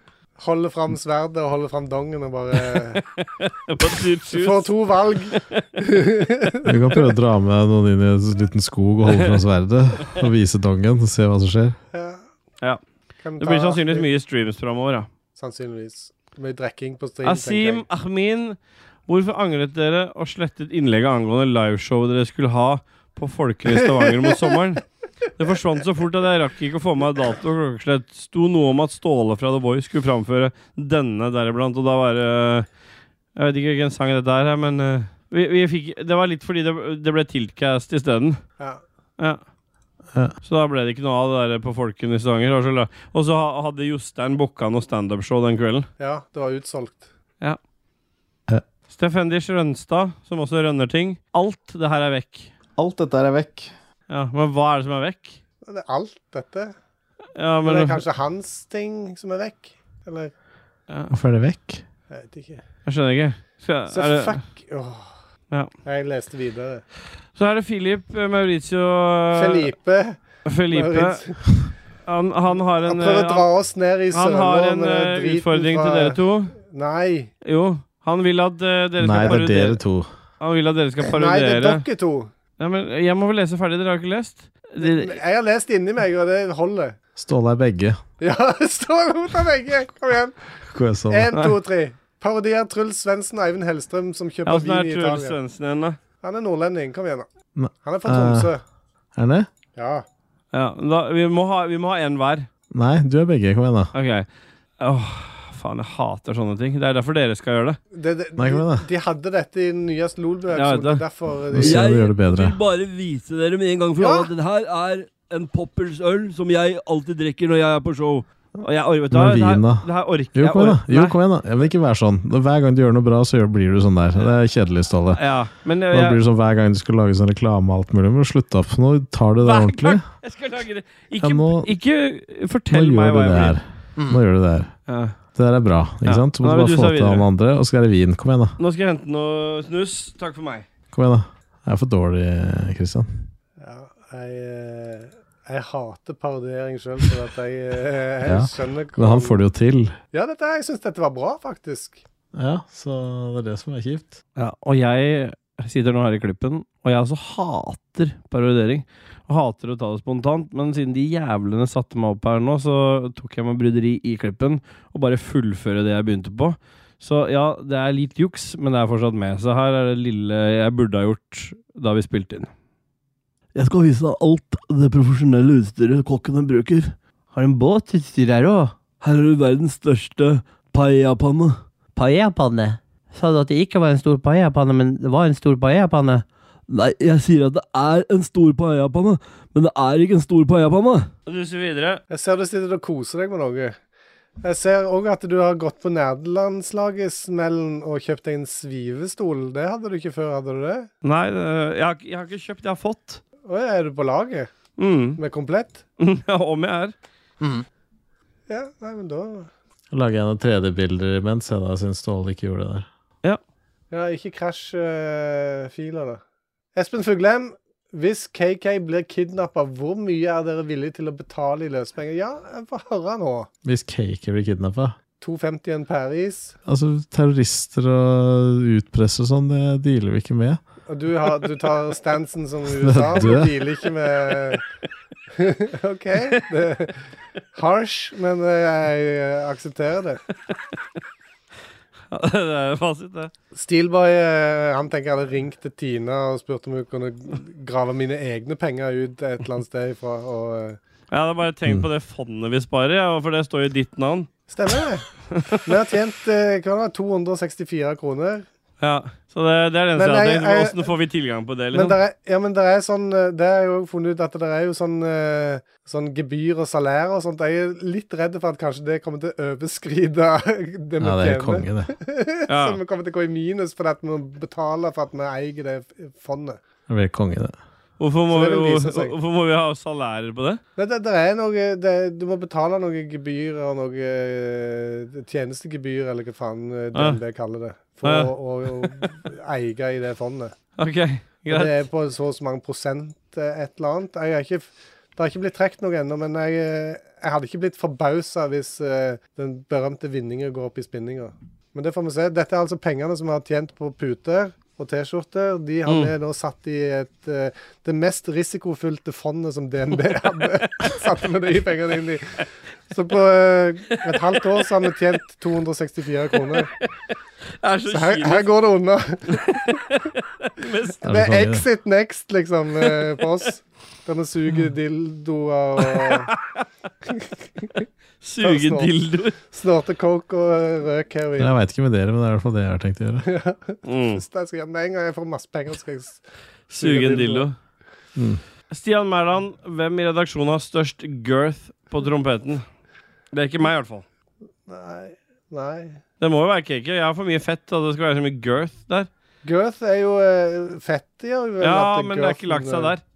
Holde fram sverdet og holde fram dongen
*laughs*
og bare
*laughs* På et dyrt
Du får
hus.
to valg.
Du kan prøve å dra med noen inn i en liten skog og holde fra sverdet. eh, Og vise dongen og se hva som skjer.
Ja.
Ja.
Kan
Det blir
ta-
sannsynligvis mye streams framover, ja.
Sannsynligvis. Mye drikking på stream, tenker
Asim
jeg.
Ahmin, hvorfor angret dere og slettet innlegget angående liveshowet dere skulle ha på Folkene i Stavanger mot sommeren? Det forsvant så fort at jeg rakk ikke å få med dato og klokkeslett. Sto noe om at Ståle fra The Voice skulle framføre denne deriblant, og da var det Jeg vet ikke hvilken sang dette er, her, men eh, vi, vi fikk, det var litt fordi det, det ble tiltcast isteden.
Ja.
Ja.
Ja.
Så da ble det ikke noe av det der på Folkene i Stavanger. Og så la- Og så ha- hadde Jostein booka noe standup-show den kvelden.
ja, det var utsolgt.
Steffendis Rønstad, som også rønner ting. Alt det her er vekk.
Alt dette er vekk.
Ja, Men hva er det som er vekk?
Det er alt dette.
Ja,
Men
men,
det er kanskje hans ting som er vekk? Eller
ja,
Hvorfor er det vekk?
jeg vet ikke.
Jeg skjønner ikke. Skal-
Så
er det,
fuck åh.
Ja.
Jeg leste videre.
så er det Philip eh, Mauricio eh,
Felipe
Felipe.
Maurits,
Han, han har
Han
en,
prøver å
eh,
dra
han,
oss ned i
han har
søla
en
med
eh,
driten
utfordring
fra-
til dere to.
Nei.
Jo. Han vil at eh, dere
Nei,
skal
det er
parodiere.
dere to.
Han vil at dere skal
Nei, det er
parodiere.
dere to.
Nei, men jeg må vel lese ferdig. Dere har ikke lest?
Jeg har lest inni meg, og det holder.
Ståle er begge.
Ja, *laughs* stå imot av begge! Kom igjen.
Går jeg sånn?
Én, to, tre. Parodi av Truls Svendsen og Eivind Hellstrøm som kjøper
Ja, Åssen
vin
er
i
Truls
Italia.
Svendsen igjen, da?
Han er nordlending. Kom igjen, da.
Ne-
Han er fra
Eh.
Tromsø.
Er det?
Ja.
Ja, da vi må ha- vi må ha én hver.
Nei, du er begge. Kom igjen, da.
Ok. Åh, faen, jeg hater sånne ting. Det er derfor dere skal gjøre det.
Det, det,
Nei, kom igjen,
de,
da.
de hadde dette i den nyeste
Ja,
LOL-bevegelsen.
vet
det
det.
er derfor
Nå ser
de,
jeg du gjør det bedre.
vil bare vise dere med en gang for
Ja.
alle at den her er en poppers øl som jeg alltid drikker når jeg er på show.
Og jeg, or- vet du,
Men
hva, det,
vin, da?
her, det her orker
Jo,
jeg
kom igjen,
orker-
da. Jo,
Nei.
kom igjen da ja, Men ikke vær sånn. Hver gang du gjør noe bra, så gjør- blir du sånn der. Det er kjedelig, Ståle.
Ja, men jeg,
Da blir
jeg,
det sånn hver gang du skal lage sånn reklame og alt mulig. Men slutt opp. Nå tar du det
Hver
ordentlig.
jeg skal lage det.
Ja,
Ikke,
nå-
ikke
Nå
fortell meg
gjør du
hva jeg
det her.
blir.
Mm.
Nå gjør du det her.
Ja.
Det der er bra, ikke
Ja.
sant? Så
Nå
må
er
du
det
bare
du
få
som
til
videre.
han andre, og så er det vin. Kom igjen, da.
Nå skal jeg hente noe snus. Takk for meg.
Kom igjen, da. Jeg er for dårlig, Kristian.
ja, jeg, eh, jeg hater parodiering sjøl, for at jeg, eh, jeg
Ja,
skjønner
Men han får det jo til.
Ja, dette, jeg syns dette var bra, faktisk.
Ja, så det er det som er kjipt.
Ja, og jeg sitter nå her i klippen, og jeg altså hater parodiering. Og hater å ta det spontant, men siden de jævlene satte meg opp her nå, så tok jeg meg bryderi i klippen og bare fullføre det jeg begynte på. Så ja, det er litt juks, men det er fortsatt med. Så her er det lille jeg burde ha gjort da vi spilte inn.
Jeg skal vise deg alt det profesjonelle utstyret kokkene bruker.
Har en båt utstyr her òg?
Her er du verdens største paellapanne.
paellapanne. Sa du at det ikke var en stor paellapanne, men det var en stor paellapanne?
Nei, jeg sier at det er en stor paellapanne, men det er ikke en stor paellapanne.
Og duser videre.
Jeg ser du sitter og koser deg med noe. Jeg ser òg at du har gått på nerdelandslaget-smellen og kjøpt deg en svivestol. Det hadde du ikke før, hadde du det?
Nei, øh, jeg har, ikke- jeg har ikke kjøpt, jeg har fått.
Å ja, er du på laget
Mm. *laughs*
med komplett?
Mm-hmm.
Om jeg er.
Ja, nei, men da
Så lager jeg noen 3D-bilder imens jeg da syns Ståle ikke gjorde det der.
Ja, ikke krasj øh, filer, da. Espen Fuglem, hvis KK blir kidnappa, hvor mye er dere villige til å betale i løsepenger? Ja, jeg får høre nå.
Hvis Cake blir kidnappa
2,50 en pæreis.
Altså, terrorister og utpress og sånn, det dealer vi ikke med.
Og du, har, du tar
*laughs*
stansen som USA,
Du
du
er-
dealer ikke med *laughs* OK. Det er harsh, men øh, jeg øh, aksepterer det.
det er fasit, det.
Steelboy eh, han tenker jeg hadde ringt til Tina og spurt om hun kunne grave mine egne penger ut et eller annet sted ifra. Og, eh,
Jeg hadde bare tenkt
Mm.
på det fondet vi sparer, ja, for det står jo i ditt navn.
stemmer det. Vi har tjent eh, hva var det, 264 kroner.
Ja, Så det, det er det eneste
Men
jeg har
jeg-
tenkt. på.
jeg-
Åssen får vi tilgang på det?
Men
liksom?
der er, ja, men der er sånn eh, Det er jo funnet ut at det er jo sånn, eh, sånn gebyr og salær og sånt. Jeg er litt redd for at kanskje det kommer til å overskride *laughs* det vi
Ja, det er
tjener.
konge, det.
Ja.
Så vi kommer til å gå i minus fordi at vi må betale for at vi eier det fondet.
Det blir konge, det.
Hvorfor må,
Så det
vi,
vil vise seg.
hvorfor må vi ha salærer på det?
Nei, det, det er noe det, Du må betale noe gebyr og noe eh, tjenestegebyr, eller hva faen eh, DNB kaller det, for
Ja.
å, å, å eie i det fondet.
Ok,
Og
greit.
Det er på så og så mange prosent eh, et eller annet. Jeg er ikke, det har ikke blitt trukket noe ennå, men jeg, eh, jeg hadde ikke blitt forbausa hvis eh, den berømte vinninga går opp i spinninga. Men det får vi se. Dette er altså pengene som vi har tjent på puter og T-skjorter. De har vi nå satt i et eh, det mest risikofylte fondet som DNB *laughs* hadde. Satte vi de pengene inn i. Så på eh, et halvt år så har vi tjent 264 kroner.
Jeg er så
Så her,
kynisk.
her går det
*laughs*
unna.
mest.
Det
Det
er
er
konge, det.
exit next, liksom, eh, på oss. Der vi suger
Mm.
dildoer og
Sugedildoer.
snorter coke og eh, røk heroin.
Jeg veit ikke med dere, men det er i hvert fall det jeg har tenkt å gjøre.
Mm.
Så jeg skal gjøre- Med en gang jeg får masse penger, skal jeg s-
Suge en dildo.
Mm.
Stian Mæland, hvem i redaksjonen har størst girth på trompeten? Det er ikke meg, i hvert fall.
Nei. Nei.
Det må jo være cake. Jeg har for mye fett, og det skal være så mye girth der.
Girth er jo eh, fett, gjør jo
Ja, men det har ikke lagt seg der.
eh. *laughs*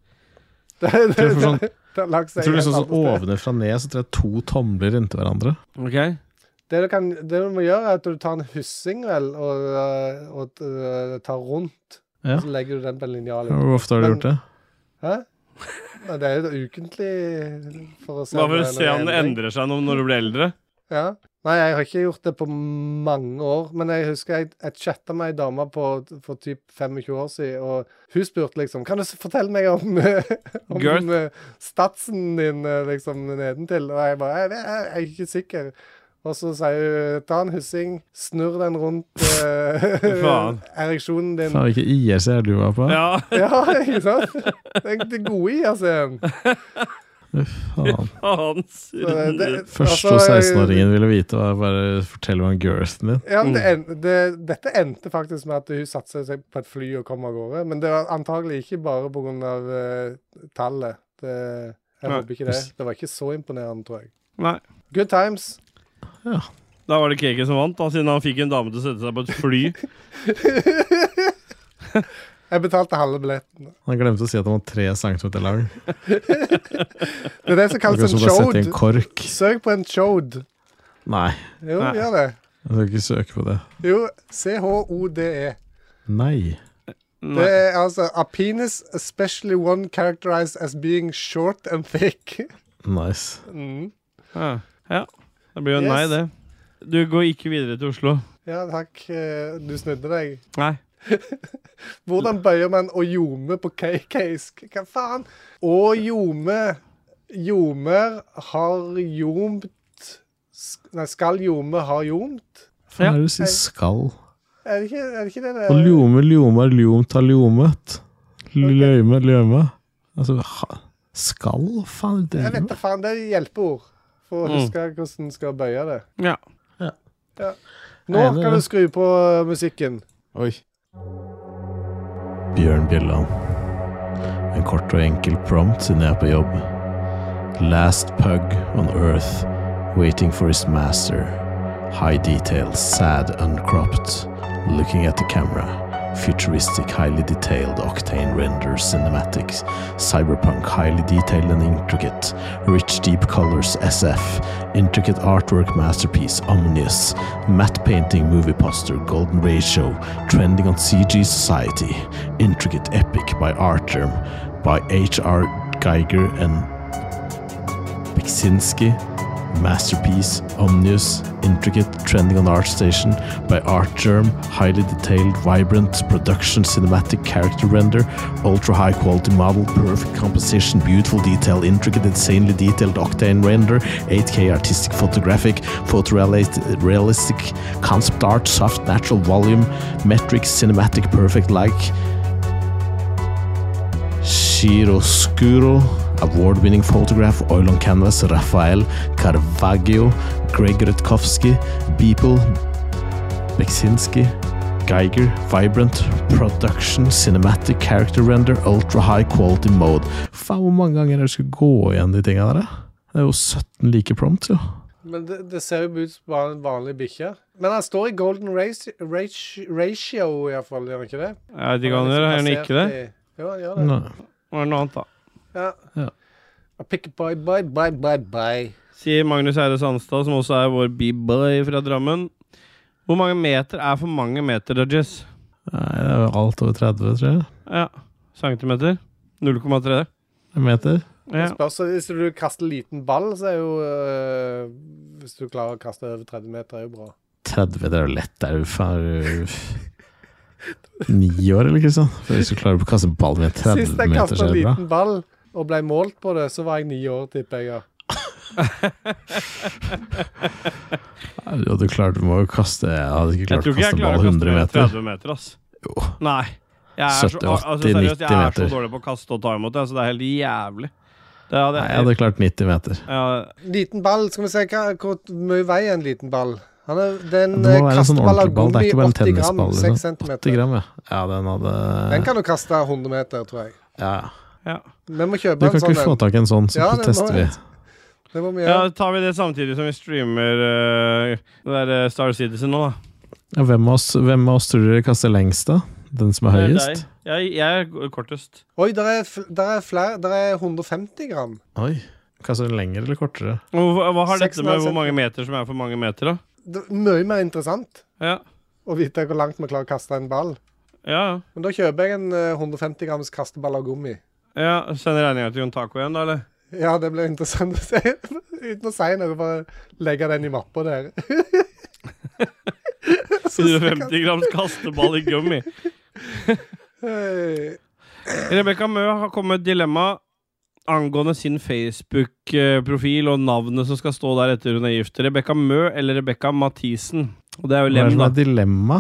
Det, det,
Jeg tror for sånn-
det, det har lagt seg
Jeg tror
helt
liksom sånn
andre steder.
ovenfra og ned, så tror jeg to tomler inntil hverandre.
Ok
Det du, kan, det du må gjøre, er at du tar en hyssing vel, og, øh, og øh, tar rundt.
Ja.
Og så legger du den på en linjal.
Hvor ofte har du gjort det?
Hæ? Nei, Det er jo ukentlig for å se,
Bare for
det
å
er
se om det
noe endring.
endrer seg noe når du blir eldre.
Ja. Nei, jeg har ikke gjort det på mange år, men jeg husker jeg, jeg chatta med ei dame på, for typ 25 år siden, og hun spurte liksom Kan du s- fortelle meg om, *laughs* om
*laughs* Girth?
eh, statsen din eh, liksom nedentil? Og jeg bare Jeg, vet- jeg, jeg er ikke sikker. Og så sier hun ta en hyssing, snurr den rundt
*laughs*
eh,
Faen.
*laughs* ereksjonen din.
Faen, hvilken IRC er du var på?
Ja, *laughs*
Ja, ikke sant? Det er det gode i altså. ACM.
*laughs*
*laughs* Faen.
faen. surrende.
Første
altså,
og 16-åringen ville vite var bare fortell meg om girthen din.
Ja, men
Mm.
det en, det, dette endte faktisk med at hun satte seg på et fly og kom av gårde. Men det var antagelig ikke bare pga. Uh, tallet. Det, jeg
Nei.
håper ikke det. Det var ikke så imponerende, tror jeg.
Nei.
Good times.
Da var det Keke som vant, da, siden han fikk en dame til å sette seg på et *laughs* fly.
Jeg betalte halve billetten.
Han glemte å si at han var tre centimeter lang.
Det er det som
Akkurat
kalles en
som bare sette i
chode.
en kork.
Søk på en chode.
Nei,
Jo,
Nei.
gjør det.
jeg skal ikke søke på det.
Jo, C-H-O-D-E.
Nei.
E. Det
Nei.
er altså A penis especially one characterized as being short and thick.
Nice.
Mm.
Ja. ja. Det blir jo nei,
Yes.
det. Du går ikke videre til Oslo.
Ja, takk. eh, Du snudde deg.
Nei.
Hvordan bøyer man ojome på keisk? Hva faen? Ojome Jomer har jomt sk- Nei, skal jome har jomt?
Ja.
Hva er det du sier skall?
Er det ikke er det ikke det?
Og
det?
ljome, ljomar, ljomt, har ljomet. Løyme, løyme. Altså, ha, skall? Hva Faen, det
Jeg
er
vet da faen. Det er hjelpeord for å
Mm.
huske hvordan en skal bøye det.
Ja.
Nå
Jeg er enig, ja.
kan du skru på uh, musikken.
Oi.
Bjørn Bjelland. En kort og enkel prompt siden jeg er på jobb. Last pug on earth, waiting for his master. High detail, sad uncropped, looking at the camera. Futuristic, highly detailed octane renders, cinematics, cyberpunk, highly detailed and intricate, rich deep colors, SF, intricate artwork masterpiece, omnious, matte painting, movie poster, golden ratio, trending on CG society, intricate epic by Arterm, by H.R. Geiger and Beksinski, Masterpiece, Omnius, Intricate, Trending on ArtStation by ArtGerm, highly detailed, vibrant production, cinematic character render, ultra high quality model, perfect composition, beautiful detail, intricate, insanely detailed octane render, 8K artistic photographic, photorealistic realistic concept art, soft natural volume, metric, cinematic, perfect like. Chiaroscuro, award winning photograph, oil on canvas, Rafael Caravaggio, Greg Rutkowski, Beeple, Beksinski, Geiger, Vibrant, Production, Cinematic, Character Render, Ultra High Quality Mode. Faen, hvor mange ganger er det jeg skulle gå igjen de tinga der, da? Det er jo 17 like prompt, jo.
Men det, det ser jo ut som bare en vanlig bikkje. Men han står i golden race, race, ratio, iallfall, gjør han ikke det?
Jeg vet ikke om dere gjør ikke det.
I, jo, han gjør det.
Nei.
Det var noe annet, da.
Ja.
Ja.
I Pick bye, bye, bye, bye, bye.
Sier Magnus Eide Sandstad, som også er vår b-boy fra Drammen. Hvor mange meter er for mange meter, Dodges?
Nei, det er jo alt over 30, tror jeg.
Ja, centimeter. 0,3.
En meter.
Ja.
Det Spørs, altså, hvis du kaster liten ball, så er jo øh, Hvis du klarer å kaste over 30 meter, er jo bra.
30, det er jo lett. Det er jo faen er du- Ni år, eller, Kristian? For Hvis du klarer å kaste en ball med 30
Sist jeg
meter,
kastet
så er
en
det bra.
liten ball og ble målt på det, så var jeg ni år, tipper jeg. ja.
Ja, Du hadde klart, du må jo kaste Jeg hadde ikke
Jeg
klart
tror
å
ikke jeg
kaste en
klarer
ball
å kaste
100
mer enn
meter.
30 meter, ass.
Jo.
Nei. Jeg er,
70,
så, altså,
80,
seriøst, jeg er så
90 meter.
dårlig på å kaste og ta imot, jeg, så det er helt jævlig. Det hadde
Nei, jeg hadde klart 90 meter.
Ja,
Liten ball, skal vi se hva, hvor mye veier en liten ball? Han er, den
Det må
eh,
være en sånn
kasteball av
ordentlig ball, det er
gummi,
ikke bare en
80 gram,
tennisball,
6
liksom.
cm.
80 gram, ja. Ja, den hadde
Den kan du kaste 100 meter, tror jeg.
ja.
ja.
Vi må
Du
kjøpe
kan
en sånn
ikke få
en.
tak i en sånn, så
Ja, den må
tester vi.
jeg. Det må vi
ja,
gjøre.
tar vi det samtidig som vi streamer eh, det der eh, Star Citizen nå, da.
Ja, hvem, av oss, hvem av oss tror dere kaster lengst, da? Den som er
Det er
høyest?
deg. Jeg, jeg er g- kortest.
Oi, der er, fl- der er flere Der er 150 gram.
Oi. Kaster den lengre eller kortere?
Hva, hva har dette
6,5
med hvor mange meter som er for mange meter, da?
Det er mye mer interessant
Ja,
å vite hvor langt vi klarer å kaste en ball.
ja.
Men da kjøper jeg en eh, 150 grams kasteball av gummi.
ja. Send regninga til Jon Taco igjen, da, eller?
Ja, det blir interessant å se. *laughs* Uten å si noe, bare legge den i
*laughs*
mappa der.
150 grams kasteball i gummi.
Hei.
Rebekka Mø har kommet med et dilemma angående sin Facebook-profil og navnet som skal stå der etter hun er gift. Rebekka Mø eller Rebekka Mathisen? Og det er jo
Hva er det
Lem,
som
da.
er dilemma?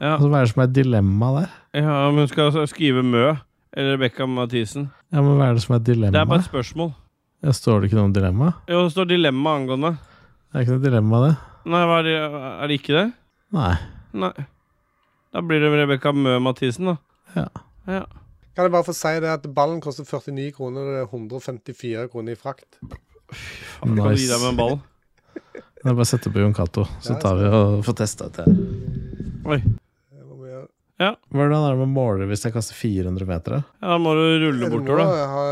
Ja.
Altså, hva er det som er dilemma der?
ja, men hun skal altså skrive Mø eller Rebekka Mathisen.
Ja, men hva er det som er
Det er
dilemma?
bare et spørsmål.
Ja, står det ikke noe om dilemma?
Jo, det står dilemma angående.
Det er ikke noe dilemma, det.
Nei, hva er det, er det ikke det?
Nei.
Nei. Da blir det Rebekka Mø Mathisen, da.
Kan jeg bare få si det at ballen koster 49 kroner, og det er 154 kroner i frakt.
Kan du gi
Nice.
deg med en ball?
Det er bare å sette på Jon Cato, så
Ja,
tar vi og får testa ut det.
Det må vi gjøre.
Hvordan er det med målere hvis jeg kaster 400 meter? da?
Ja, da må du rulle
Du
bortover, da.
må ha,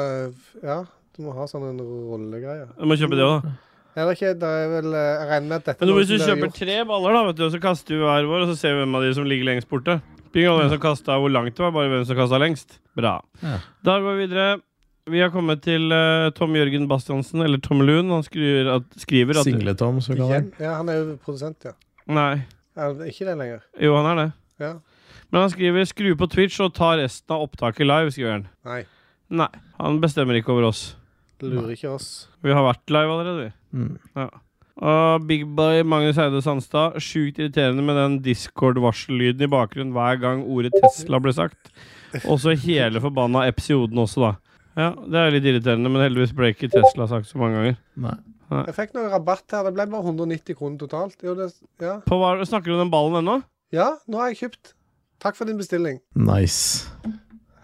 ja, du må ha sånn en rollegreie.
Du må kjøpe det òg, da.
Er det ikke det er vel, eh, Jeg regner med at dette
Men
er
nå,
noe
hvis du
som blir
kjøper
gjort.
tre baller, da, vet du, og så kaster vi hver vår, og så ser vi hvem av de som ligger lengst borte. Ikke om hvem som kastet, hvor langt det var, bare hvem som kasta lengst. Bra.
Ja.
Da går vi videre. Vi har kommet til eh, Tom Jørgen Bastiansen, eller Tom Lund. Han skriver at, skriver at
Singletom, som vi kaller
Igjen?
det.
Ja, han er jo produsent, ja.
Nei.
Er det ikke det lenger?
Jo, han er det.
Ja.
Men han skriver 'skru på Twitch og ta resten av opptaket live', skriver han.
Nei.
Nei. Han bestemmer ikke over oss.
Lurer ikke oss.
Vi har vært live allerede, vi.
Mm.
Og Big Boy Magnus Eide Sandstad, sjukt irriterende med den Discord-varsellyden i bakgrunnen hver gang ordet Tesla ble sagt. Og så hele forbanna episoden også, da. Ja, Det er litt irriterende, men heldigvis ble ikke Tesla sagt så mange ganger.
Nei.
Jeg fikk noe rabatt her. Det ble bare 190 kroner totalt. Jo, det, ja.
På hva, snakker du om den ballen ennå?
ja, nå har jeg kjøpt. Takk for din bestilling.
Nice.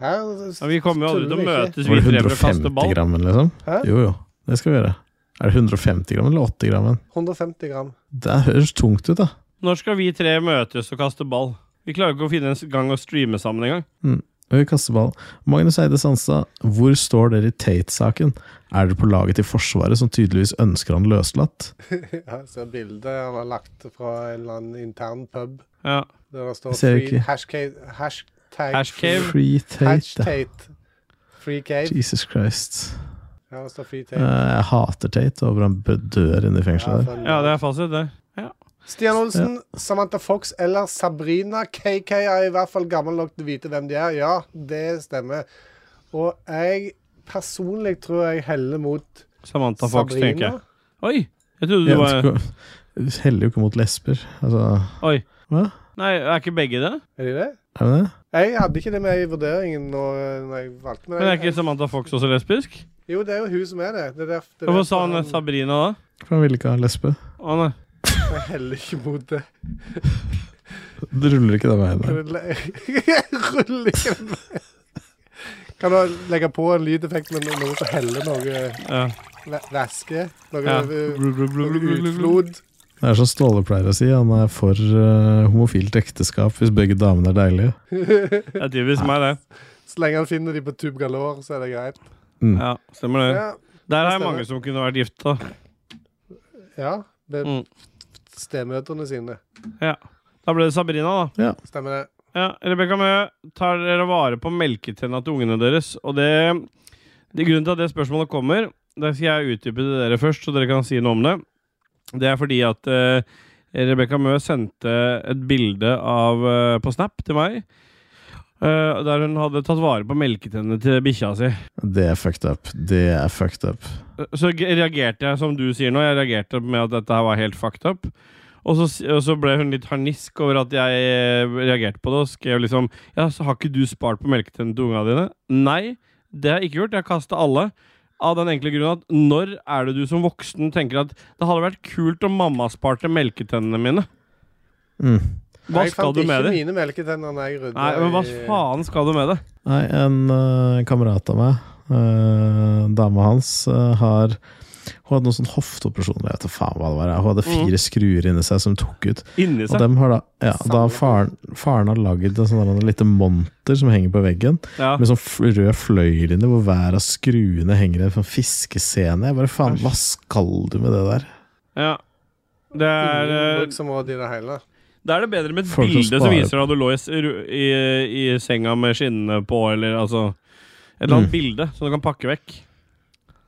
Her,
Ja, vi kommer jo aldri til å
tuller vi ikke.
møtes
Var
vi
det
tre for å kaste
150
ball.
grammen, liksom?
Hæ?
Jo, jo. Det skal vi gjøre. Er det 150 grammen eller 80 grammen?
150 gram.
Det høres tungt ut, da.
Når skal vi tre møtes og kaste ball? Vi klarer ikke å finne en gang å streame sammen engang.
Vi kaster ballen. Magnus Eide Sandstad, hvor står dere i Tate-saken? Er dere på laget til Forsvaret, som tydeligvis ønsker han løslatt?
Jeg ser bildet han har lagt fra en eller annen intern pub.
Ja.
Der det står
Jeg ser
free,
ikke.
hashca- hashtag
Hashcave.
Free Tate. ja.
Hashtag Free cave.
Jesus Christ.
Ja, det står free
Eh,
tape.
Jeg hater Tate over han dør inne i fengselet der.
ja, det er fasit, det. Ja.
Stian Olsen, Samantha Fox eller Sabrina KK er i hvert fall gammel nok til å vite hvem de er. Ja, det stemmer. Og jeg personlig tror jeg heller mot
Samantha Fox, tenker jeg.
Sabrina.
Oi! Jeg trodde du eh,
Jeg
var
vet ikke- Heller jo ikke mot lesber. Altså,
Oi.
Hva?
Nei, er ikke begge det?
Er de det?
er det det?
Jeg hadde ikke det med i vurderingen når, når jeg valgte men
Men er
jeg-
ikke Samantha Fox også lesbisk?
Jo, det er jo hun som er det. det, er derf- det er
Hvorfor
derfor
sa han
han-
Sabrina da?
For han ville ikke ha lesbe.
Å nei.
*laughs* Jeg heller ikke mot det.
Det ruller ikke den veien.
Kan
der.
du le- *laughs* Jeg ruller ikke den veien. Kan du legge på en lydeffekt med noe noe som heller noe
Ja.
væ- væske? Noe,
Ja.
eh, noe utflod?
Det er som Ståle pleier å si, han er for eh, homofilt ekteskap hvis begge damene er deilige.
Det er typisk meg, det.
Så lenge han finner de på Tube Galore, så er det greit.
Ja, Stemmer det.
Ja,
Der er
stemmer.
mange som kunne vært gifta.
ja med
Mm.
stemøterne sine.
Da ble det Sabrina, da.
Stemmer det.
Ja, Rebekka Mø, tar dere vare på melketenna til ungene deres? Og det, det Grunnen til at det spørsmålet kommer, det skal jeg utdype til dere først, så dere kan si noe om det. Det er fordi at uh, Rebekka Mø sendte et bilde av, eh, på Snap til meg. eh, der hun hadde tatt vare på melketennene til bikkja si.
Det er fucked up. Det er fucked up.
Eh, Så g- reagerte jeg, som du sier nå, jeg reagerte med at dette her var helt fucked up. Og så, s- og så ble hun litt harnisk over at jeg eh, reagerte på det, og skrev liksom Ja, så har ikke du spart på melketennene til ungene dine? Nei, det har jeg ikke gjort. Jeg har kasta alle. Av den enkle grunn at når er det du som voksen tenker at det hadde vært kult om mamma sparte melketennene mine?
Mm.
Hva
jeg
skal
fant
du med
ikke
det?
mine melketenner når jeg rydda
Nei, men hva
i-
faen skal du med det?
Nei, en eh, kamerat av meg, uh, dama hans, eh, har hun hadde noen sånn hofteoperasjoner. Jeg vet da faen hva det var. ja. Hun hadde
Mm.
fire skruer inni seg som tok ut.
Inni
Og
seg?
dem har da, ja, da har faren, faren har lagd en sånn der- en liten monter som henger på veggen,
Ja.
med sånn f- rød fløyel inni, hvor hver av skruene henger en sånn fiskescene. Jeg bare faen, hva skal du med det der?
ja. Det er
Ingen
eh,
bruksområde i det hele.
Da er det bedre med et
Folk som
bilde som
sparer.
viser at du lå i, s- ru- i, i senga med skinnene på, eller altså Et eller annet
Mm.
bilde som du kan pakke vekk.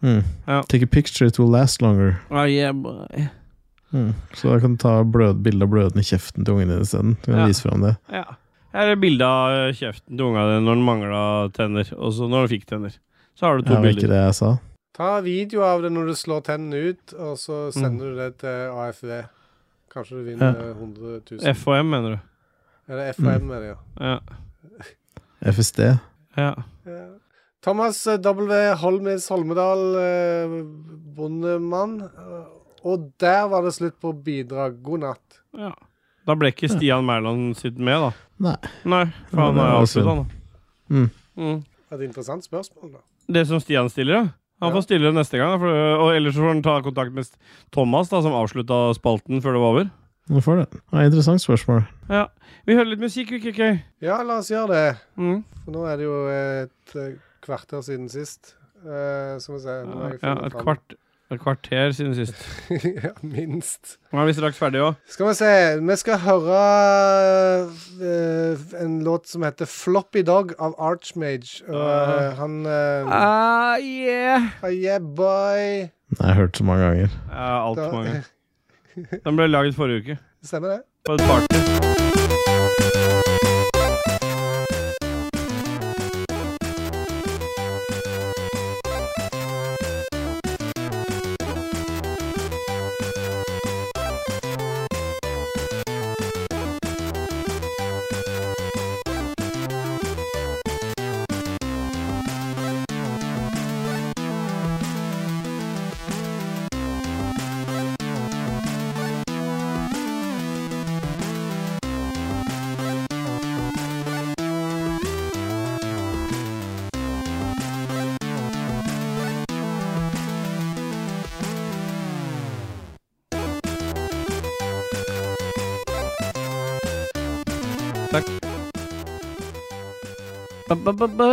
Mm.
Ja.
Take a picture, it will last longer. Mm. Så da kan du ta blød, bilde av blødende kjeften til ungen din isteden. Du kan
Ja.
vise frem det.
Ja. Her er bilde av kjeften til unga di når den mangla tenner, og så når den fikk tenner. Så har du to
Ja, det var ikke
bilder.
det jeg sa.
Ta video av det når du slår tennene ut,
Mm.
og så sender du det til AFV. Kanskje du vinner 100 000.
FHM, mener du.
Eller
Mm.
FHM er det, ja.
Ja.
FSD.
ja.
Ja. Thomas eh, W. Holmes Holmedal, eh, bondemann. Eh, Og der var det slutt på bidrag. God natt.
ja. Da ble ikke Stian Mæland sitt med, da.
Nei.
Nei, for han
Ja,
er
det er
avslutta, da.
Mm.
Mm.
Et interessant spørsmål, da.
Det som Stian stiller, ja. Han
Ja.
får stille det neste gang. da, For, og ellers så får han ta kontakt med Thomas, da, som avslutta spalten før det var over.
Nå får du det. Ja, interessant spørsmål.
Ja. Vi hører litt musikk, vi, KK.
Ja, la oss gjøre det.
Mm.
For nå er det jo et eh, kvarter siden sist. Eh, så må vi se. nå må jeg
Ja,
finne
et,
fram.
kvart, et kvarter siden sist.
*laughs* ja, minst.
Nå er vi straks ferdige òg.
Skal vi se. Vi skal høre eh, en låt som heter 'Floppy Dog' av Archmage. Og, eh, han eh,
Ah, yeah.
ah, Yeah, boy.
Jeg har hørt så mange ganger.
Ja, altfor
Da-
mange. Den ble laget forrige uke.
Stemmer det?
På et party.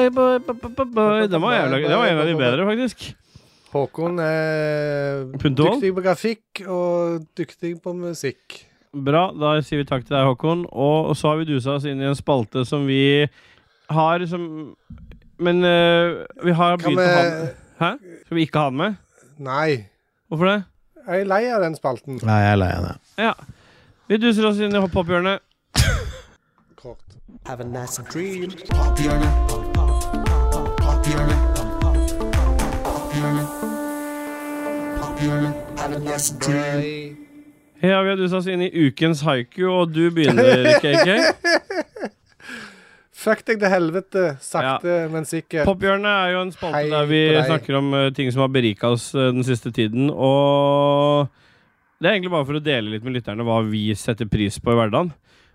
Den var, jævla, den var en av de bedre, faktisk.
Håkon er
Punktål?
dyktig på grafikk og dyktig på musikk.
Bra. Da sier vi takk til deg, Håkon. Og så har vi dusa oss inn i en spalte som vi har som Men øh, vi har
Kan
begynt å ha den Hæ? Skal vi ikke ha den med?
Nei.
Hvorfor det?
Jeg er lei av den spalten.
Nei, jeg er lei av det.
Ja. Vi duser oss inn i hopp-hopp-hjørnet.
Kort.
Ja, vi har dusa oss inn i ukens haiku, og du begynner, KK.
Fuck deg til helvete, sakte, men sikkert.
Pophjørnet er jo en spalte
Hei
der vi
på deg.
snakker om eh, ting som har berika oss eh, den siste tiden, og det er egentlig bare for å dele litt med lytterne hva vi setter pris på i hverdagen.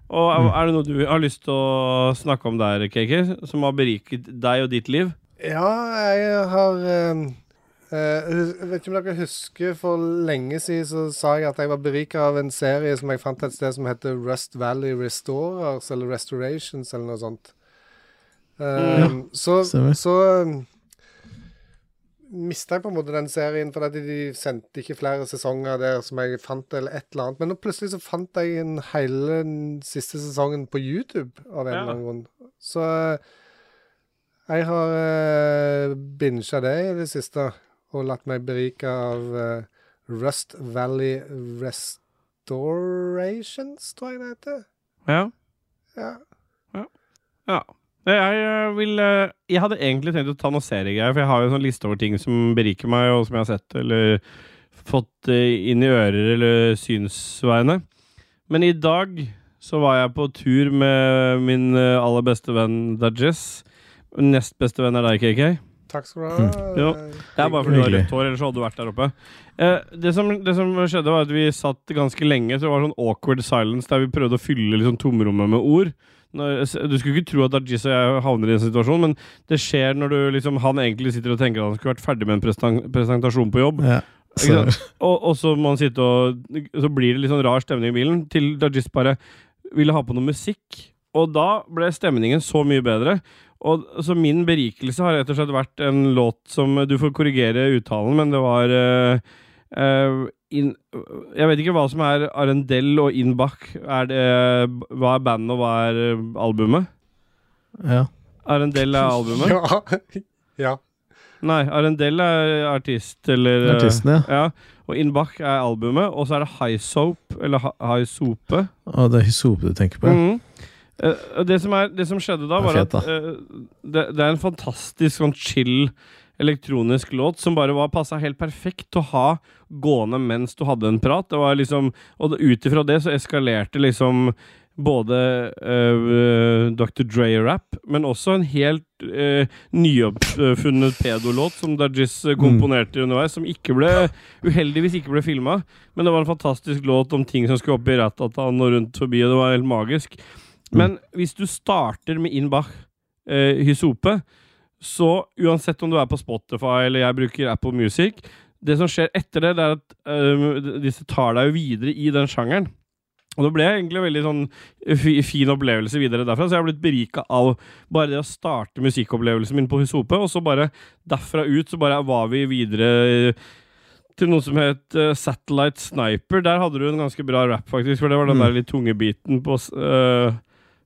Og
Mm.
er- er det noe du har lyst til å snakke om der, KK, som har beriket deg og ditt liv?
Ja, jeg har eh, eh, hus- Jeg vet ikke om dere husker, for lenge siden så sa jeg at jeg var berika av en serie som jeg fant et sted som heter Rust Valley Restorers, eller Restorations, eller noe sånt. Eh, så
stemmer.
så ehm, mista jeg på en måte den serien, for at de sendte ikke flere sesonger der som jeg fant, eller et eller annet. Men nå plutselig så fant jeg en hele den siste sesongen på YouTube, av en
Ja.
eller annen grunn. Så eh, jeg har uh, binsja det i det siste, og latt meg berike av eh, Rust Valley Restorations, tror jeg det heter.
Ja.
Ja.
Ja. Jeg, eh, vil eh, Jeg hadde egentlig tenkt å ta noen seriegreier, for jeg har jo en sånn liste over ting som beriker meg, og som jeg har sett eller fått eh, inn i ører eller synsveiene. Men i dag så var jeg på tur med min eh, aller beste venn Dajess. Nest beste venn er deg, KK.
Takk skal du ha.
Jo. Det er bare fordi du har
Hyggelig.
rødt hår, ellers hadde du vært der oppe. Eh, det, som, det som skjedde, var at vi satt ganske lenge, så det var sånn awkward silence der vi prøvde å fylle liksom tomrommet med ord. Når, s- du skulle ikke tro at Dargis og jeg havner i en situasjon, men det skjer når du liksom Han egentlig sitter og tenker at han skulle vært ferdig med en presentan presentasjon på jobb.
Ja.
Ikke
Så,
Og, og så må han sitte og Så blir det litt sånn rar stemning i bilen Til Dajis bare ville ha på noe musikk Og da ble stemningen så mye bedre og, Så min berikelse har rett og slett vært en låt som eh, Du får korrigere uttalen, men det var eh, eh, in, Jeg vet ikke hva som er Arendell og Inbach er det, eh, Hva er bandet og hva er eh, albumet?
ja.
Arendell er albumet?
Ja. *laughs* ja.
Nei, Arendell er artist eller eh,
Artisten, ja.
Ja, og In Bach er albumet, og så er det High Soap, eller Hi- High Sope.
Og det er Hysope du tenker på? ja.
Mhm. Eh, og det, som er, det som skjedde da,
Det er
var
fett,
at eh, det, det er en fantastisk sånn chill elektronisk låt som bare var passa helt perfekt til å ha gående mens du hadde en prat. Det var liksom, og det- ut ifra det så eskalerte liksom både eh, Dr. Dre-rap, men også en helt uh, nyoppfunnet pedolåt som Dajis eh, komponerte underveis, som ikke ble, uheldigvis ikke ble filma. Men det var en fantastisk låt om ting som skulle opp i Ratatan og rundt forbi, og det var helt magisk. Men hvis du starter med Inbach uh, Hysope, så uansett om du er på Spotify eller jeg bruker Apple Music Det som skjer etter det, det er at eh, disse tar deg jo videre i den sjangeren. Og det ble egentlig en veldig sånn fi- fin opplevelse videre derfra, så jeg har blitt berika av bare det å starte musikkopplevelsen min på Hysope, og så bare derfra ut så bare var vi videre øh, til noe som het eh, Satellite Sniper. Der hadde du en ganske bra rap, faktisk, for det var den
Mm.
der litt tunge biten på s- eh,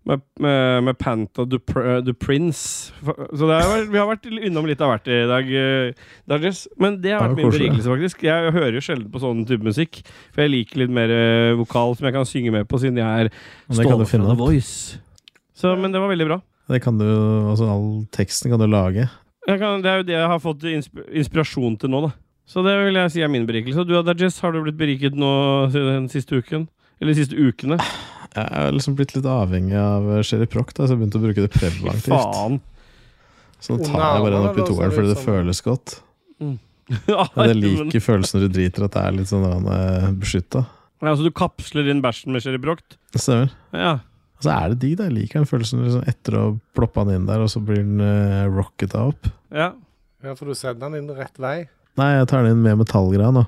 med, med, med Panta the, Pr- the Prince. eh, Fa- Så det er, vi har vært innom litt av hvert i dag, eh, Dargis. Men det har
Det er
vært min
koselig.
berikelse, faktisk. Jeg hører jo sjelden på sånn type musikk, for jeg liker litt mer eh, vokal som jeg kan synge med på, siden jeg er
Men det kan du finne opp.
Voice. Så, men det var veldig bra.
Det kan du, altså All teksten kan du lage.
Jeg kan, det er jo det jeg har fått insp inspirasjon til nå, da. Så det vil jeg si er min berikelse. Og du, Dargis, har du blitt beriket nå siden den siste uken? Eller de siste ukene?
Jeg er liksom blitt litt avhengig av Sherry Proc, da, så jeg har begynt å bruke det
Fy
preventivt.
faen. *laughs*
Så nå tar jeg bare den opp i toeren fordi det føles godt. Men jeg liker følelsen når du driter at det er litt sånn beskytta.
Ja, så du kapsler inn bæsjen med Sherry Brocht?
Det stemmer.
Ja.
Og så er det digg, da. Jeg liker den følelsen liksom, etter å ploppe den inn der, og så blir den uh, rocketa opp.
ja.
Ja, for du sender den inn rett vei.
Nei, jeg tar den inn med metallgreia nå.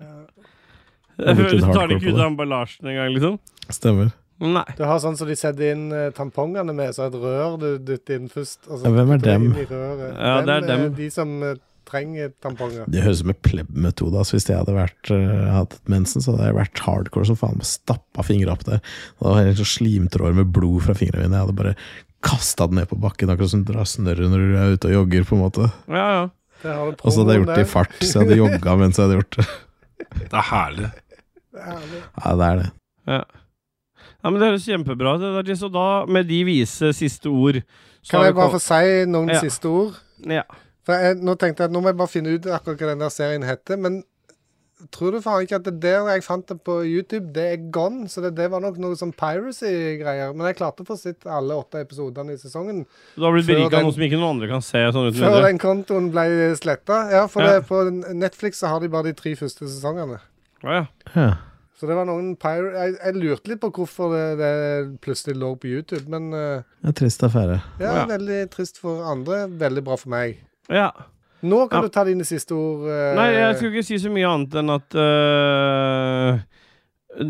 Du
Jeg har vært litt
tar det
hardcore
ikke ut
på det.
av emballasjen engang, liksom?
Stemmer.
Nei.
Du har sånn som de setter inn eh, tampongene med, så et rør du dytter inn først. Og så
Ja, hvem er
putter du
dem?
Inn i røret.
Ja, det er
Dem
dem.
De som eh, trenger tamponger.
Det høres ut som en pleb-metode. Altså, hvis jeg hadde vært, eh, hatt et mensen, så hadde jeg vært hardcore som faen. Stappa fingra opp der. Og det var helt sånn slimtråder med blod fra fingrene mine. Jeg hadde bare kasta den ned på bakken, akkurat som du drar snørret når du er ute og jogger. på en måte
Ja, ja.
Der har du
Og så hadde jeg gjort det i
der.
fart, så
*laughs*
jeg hadde jogga mens jeg hadde gjort det.
Det er herlig.
Herlig.
Ja, det er det.
Ja, men Det høres kjempebra ut. det der, Jess, Og da, med de vise siste ord så
Kan
har
jeg
vi
bare
kom-
få si noen
Ja.
siste ord?
ja.
For jeg, nå tenkte jeg at nå må jeg bare finne ut akkurat hva den der serien heter, men tror du faen ikke at det der jeg fant det på YouTube, det er gone? Så det, det var nok noe sånn piracy-greier. Men jeg klarte å få sett alle åtte episodene i sesongen.
Du har blitt
Før
berika av
den-
noe som ikke noen andre kan se. sånn uten
Før
videre.
den kontoen ble sletta. Ja, for
Ja.
Det, på Netflix så har de bare de tre første sesongene.
Ja, ja.
Ja.
Så det var noen pir... Jeg, jeg lurte litt på hvorfor det, det plutselig lå på YouTube, men eh,
Det er en trist affære.
Ja.
ja, veldig trist for andre, veldig bra for meg.
ja.
Nå
Ja.
kan du ta dine siste ord. eh,
Nei, jeg skulle ikke si så mye annet enn at øh,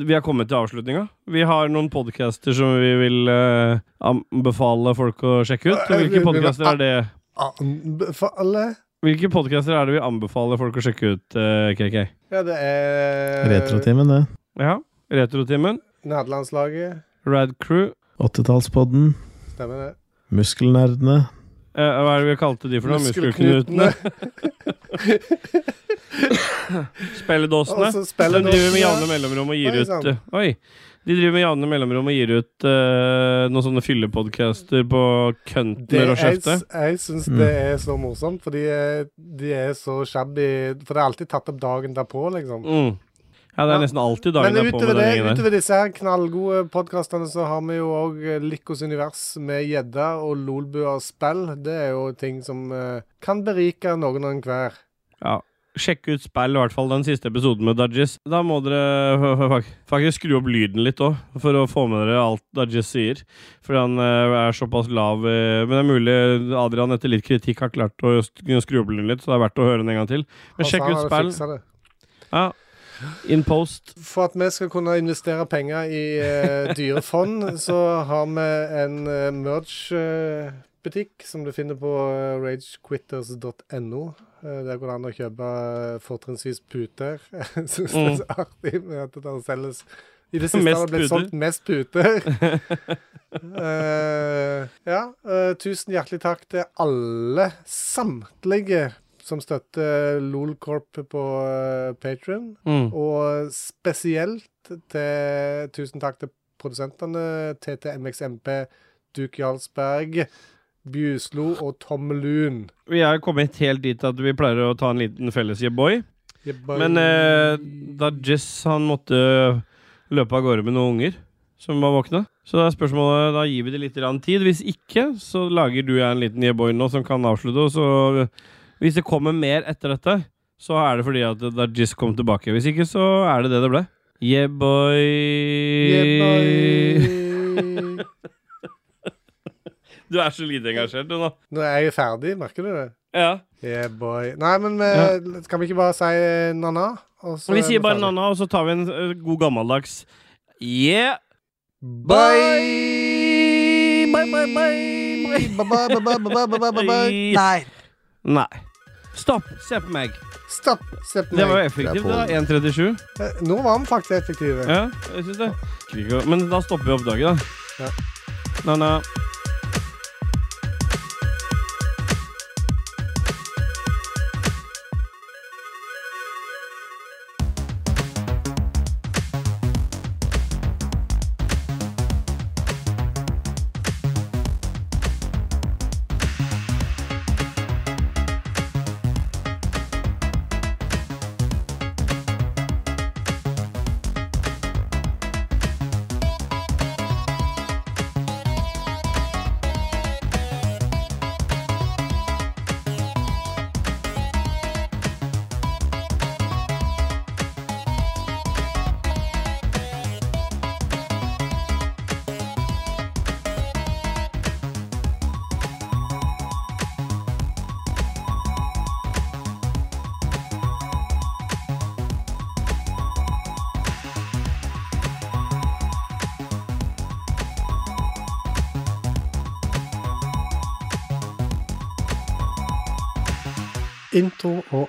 vi har kommet til avslutninga. Vi har noen podcaster som vi vil øh, anbefale folk å sjekke
Eh,
ut. Og hvilke podcaster
Ah.
er det
an- For alle
Hvilke podcaster er det vi anbefaler folk å sjekke ut, øh, KK?
Ja, det er
Retrotimen, det.
Ja, Retrotimen,
Nederlandslaget.
Rad Crew
80-tallspodden.
Stemmer det.
Muskelnerdene.
Eh, Hva er det vi kalte de for noe? Muskelknutene? Spelledåsene?
*laughs* Og så
De
spelledåsene.
driver med jevne mellomrom og gir
Oi,
ut
sant.
eh, Oi! De driver med jevne mellomrom og gir ut eh, noen sånne fyllepodcaster på
Det
køntner og
jeg,
kjefte.
jeg syns
Mm.
det er så morsomt, for de er, de er så shabby For det er alltid tatt opp dagen derpå, liksom.
Mm. Ja, det
Ja.
er nesten alltid dagen
Men
derpå med
utover,
den
det,
gjengen der.
utover disse her knallgode podkastene, så har vi jo òg Lykkos univers med gjedda og lolbua og spill. Det er jo ting som eh, kan berike noen og enhver.
Ja. Sjekk ut spill, i hvert fall den siste episoden med Dudgies. Da må dere f- f- fak- faktisk skru opp lyden litt òg, for å få med dere alt Dudgies sier. For han eh, er såpass lav eh, Men det er mulig Adrian etter litt kritikk har klart å sk- skru opp lyden litt, så det er verdt å høre den en gang til. Men sjekk ut spill.
spill.
Ja. In post.
For at vi skal kunne investere penger i eh, dyre fond, så har vi en eh, merge-butikk som du finner på eh, ragequitters.no. Eh, Der går det an å kjøpe eh, fortrinnsvis puter. *laughs* Jeg syns det er så artig med at det der selges I det siste
Mm.
har
*laughs* Mest puter.
det blitt solgt mest
*laughs*
puter. Eh, ja, eh, tusen hjertelig takk til alle, samtlige, som støtter Lolcorp på uh, Patrion.
Mm.
Og spesielt til Tusen takk til produsentene TTMXMP, Duke Jarlsberg, Bjuslo og Tom Lun.
Vi er kommet helt dit at vi pleier å ta en liten felles jeboy.
Jeg bare-
Men eh, da Jess han måtte eh, løpe av gårde med noen unger som var våkne. Så da er spørsmålet, da gir vi det litt grann tid. Hvis ikke, så lager du og jeg en liten jeboy nå som kan avslutte. Og så hvis det kommer mer etter dette, så er det fordi at da Jess kom tilbake. Hvis ikke, så er det det det ble. Jeboy
Jeg bare-
Du er så lite engasjert, du nå.
Når jeg er ferdig, merker du det?
Ja.
Yeah, boy. Nei, men vi, skal vi ikke bare si eh, na-na? og så
Vi
er
sier bare
ferdig?
nanna, og så tar vi en eh, god gammeldags yeah.
Bye!
Bye, bye, bye,
Ba, ba, ba, ba, ba, ba, ba, ba, ba.
Nei.
Nei. Stopp. Se på meg.
Stopp! Se på
Det var jo
meg.
effektivt,
Det
da.
er
1.37.
Eh, Nå var vi faktisk effektive.
Ja, jeg syns det. Krig og- Men da stopper vi oppdraget, da.
Ja.
Nanna.
Intro- og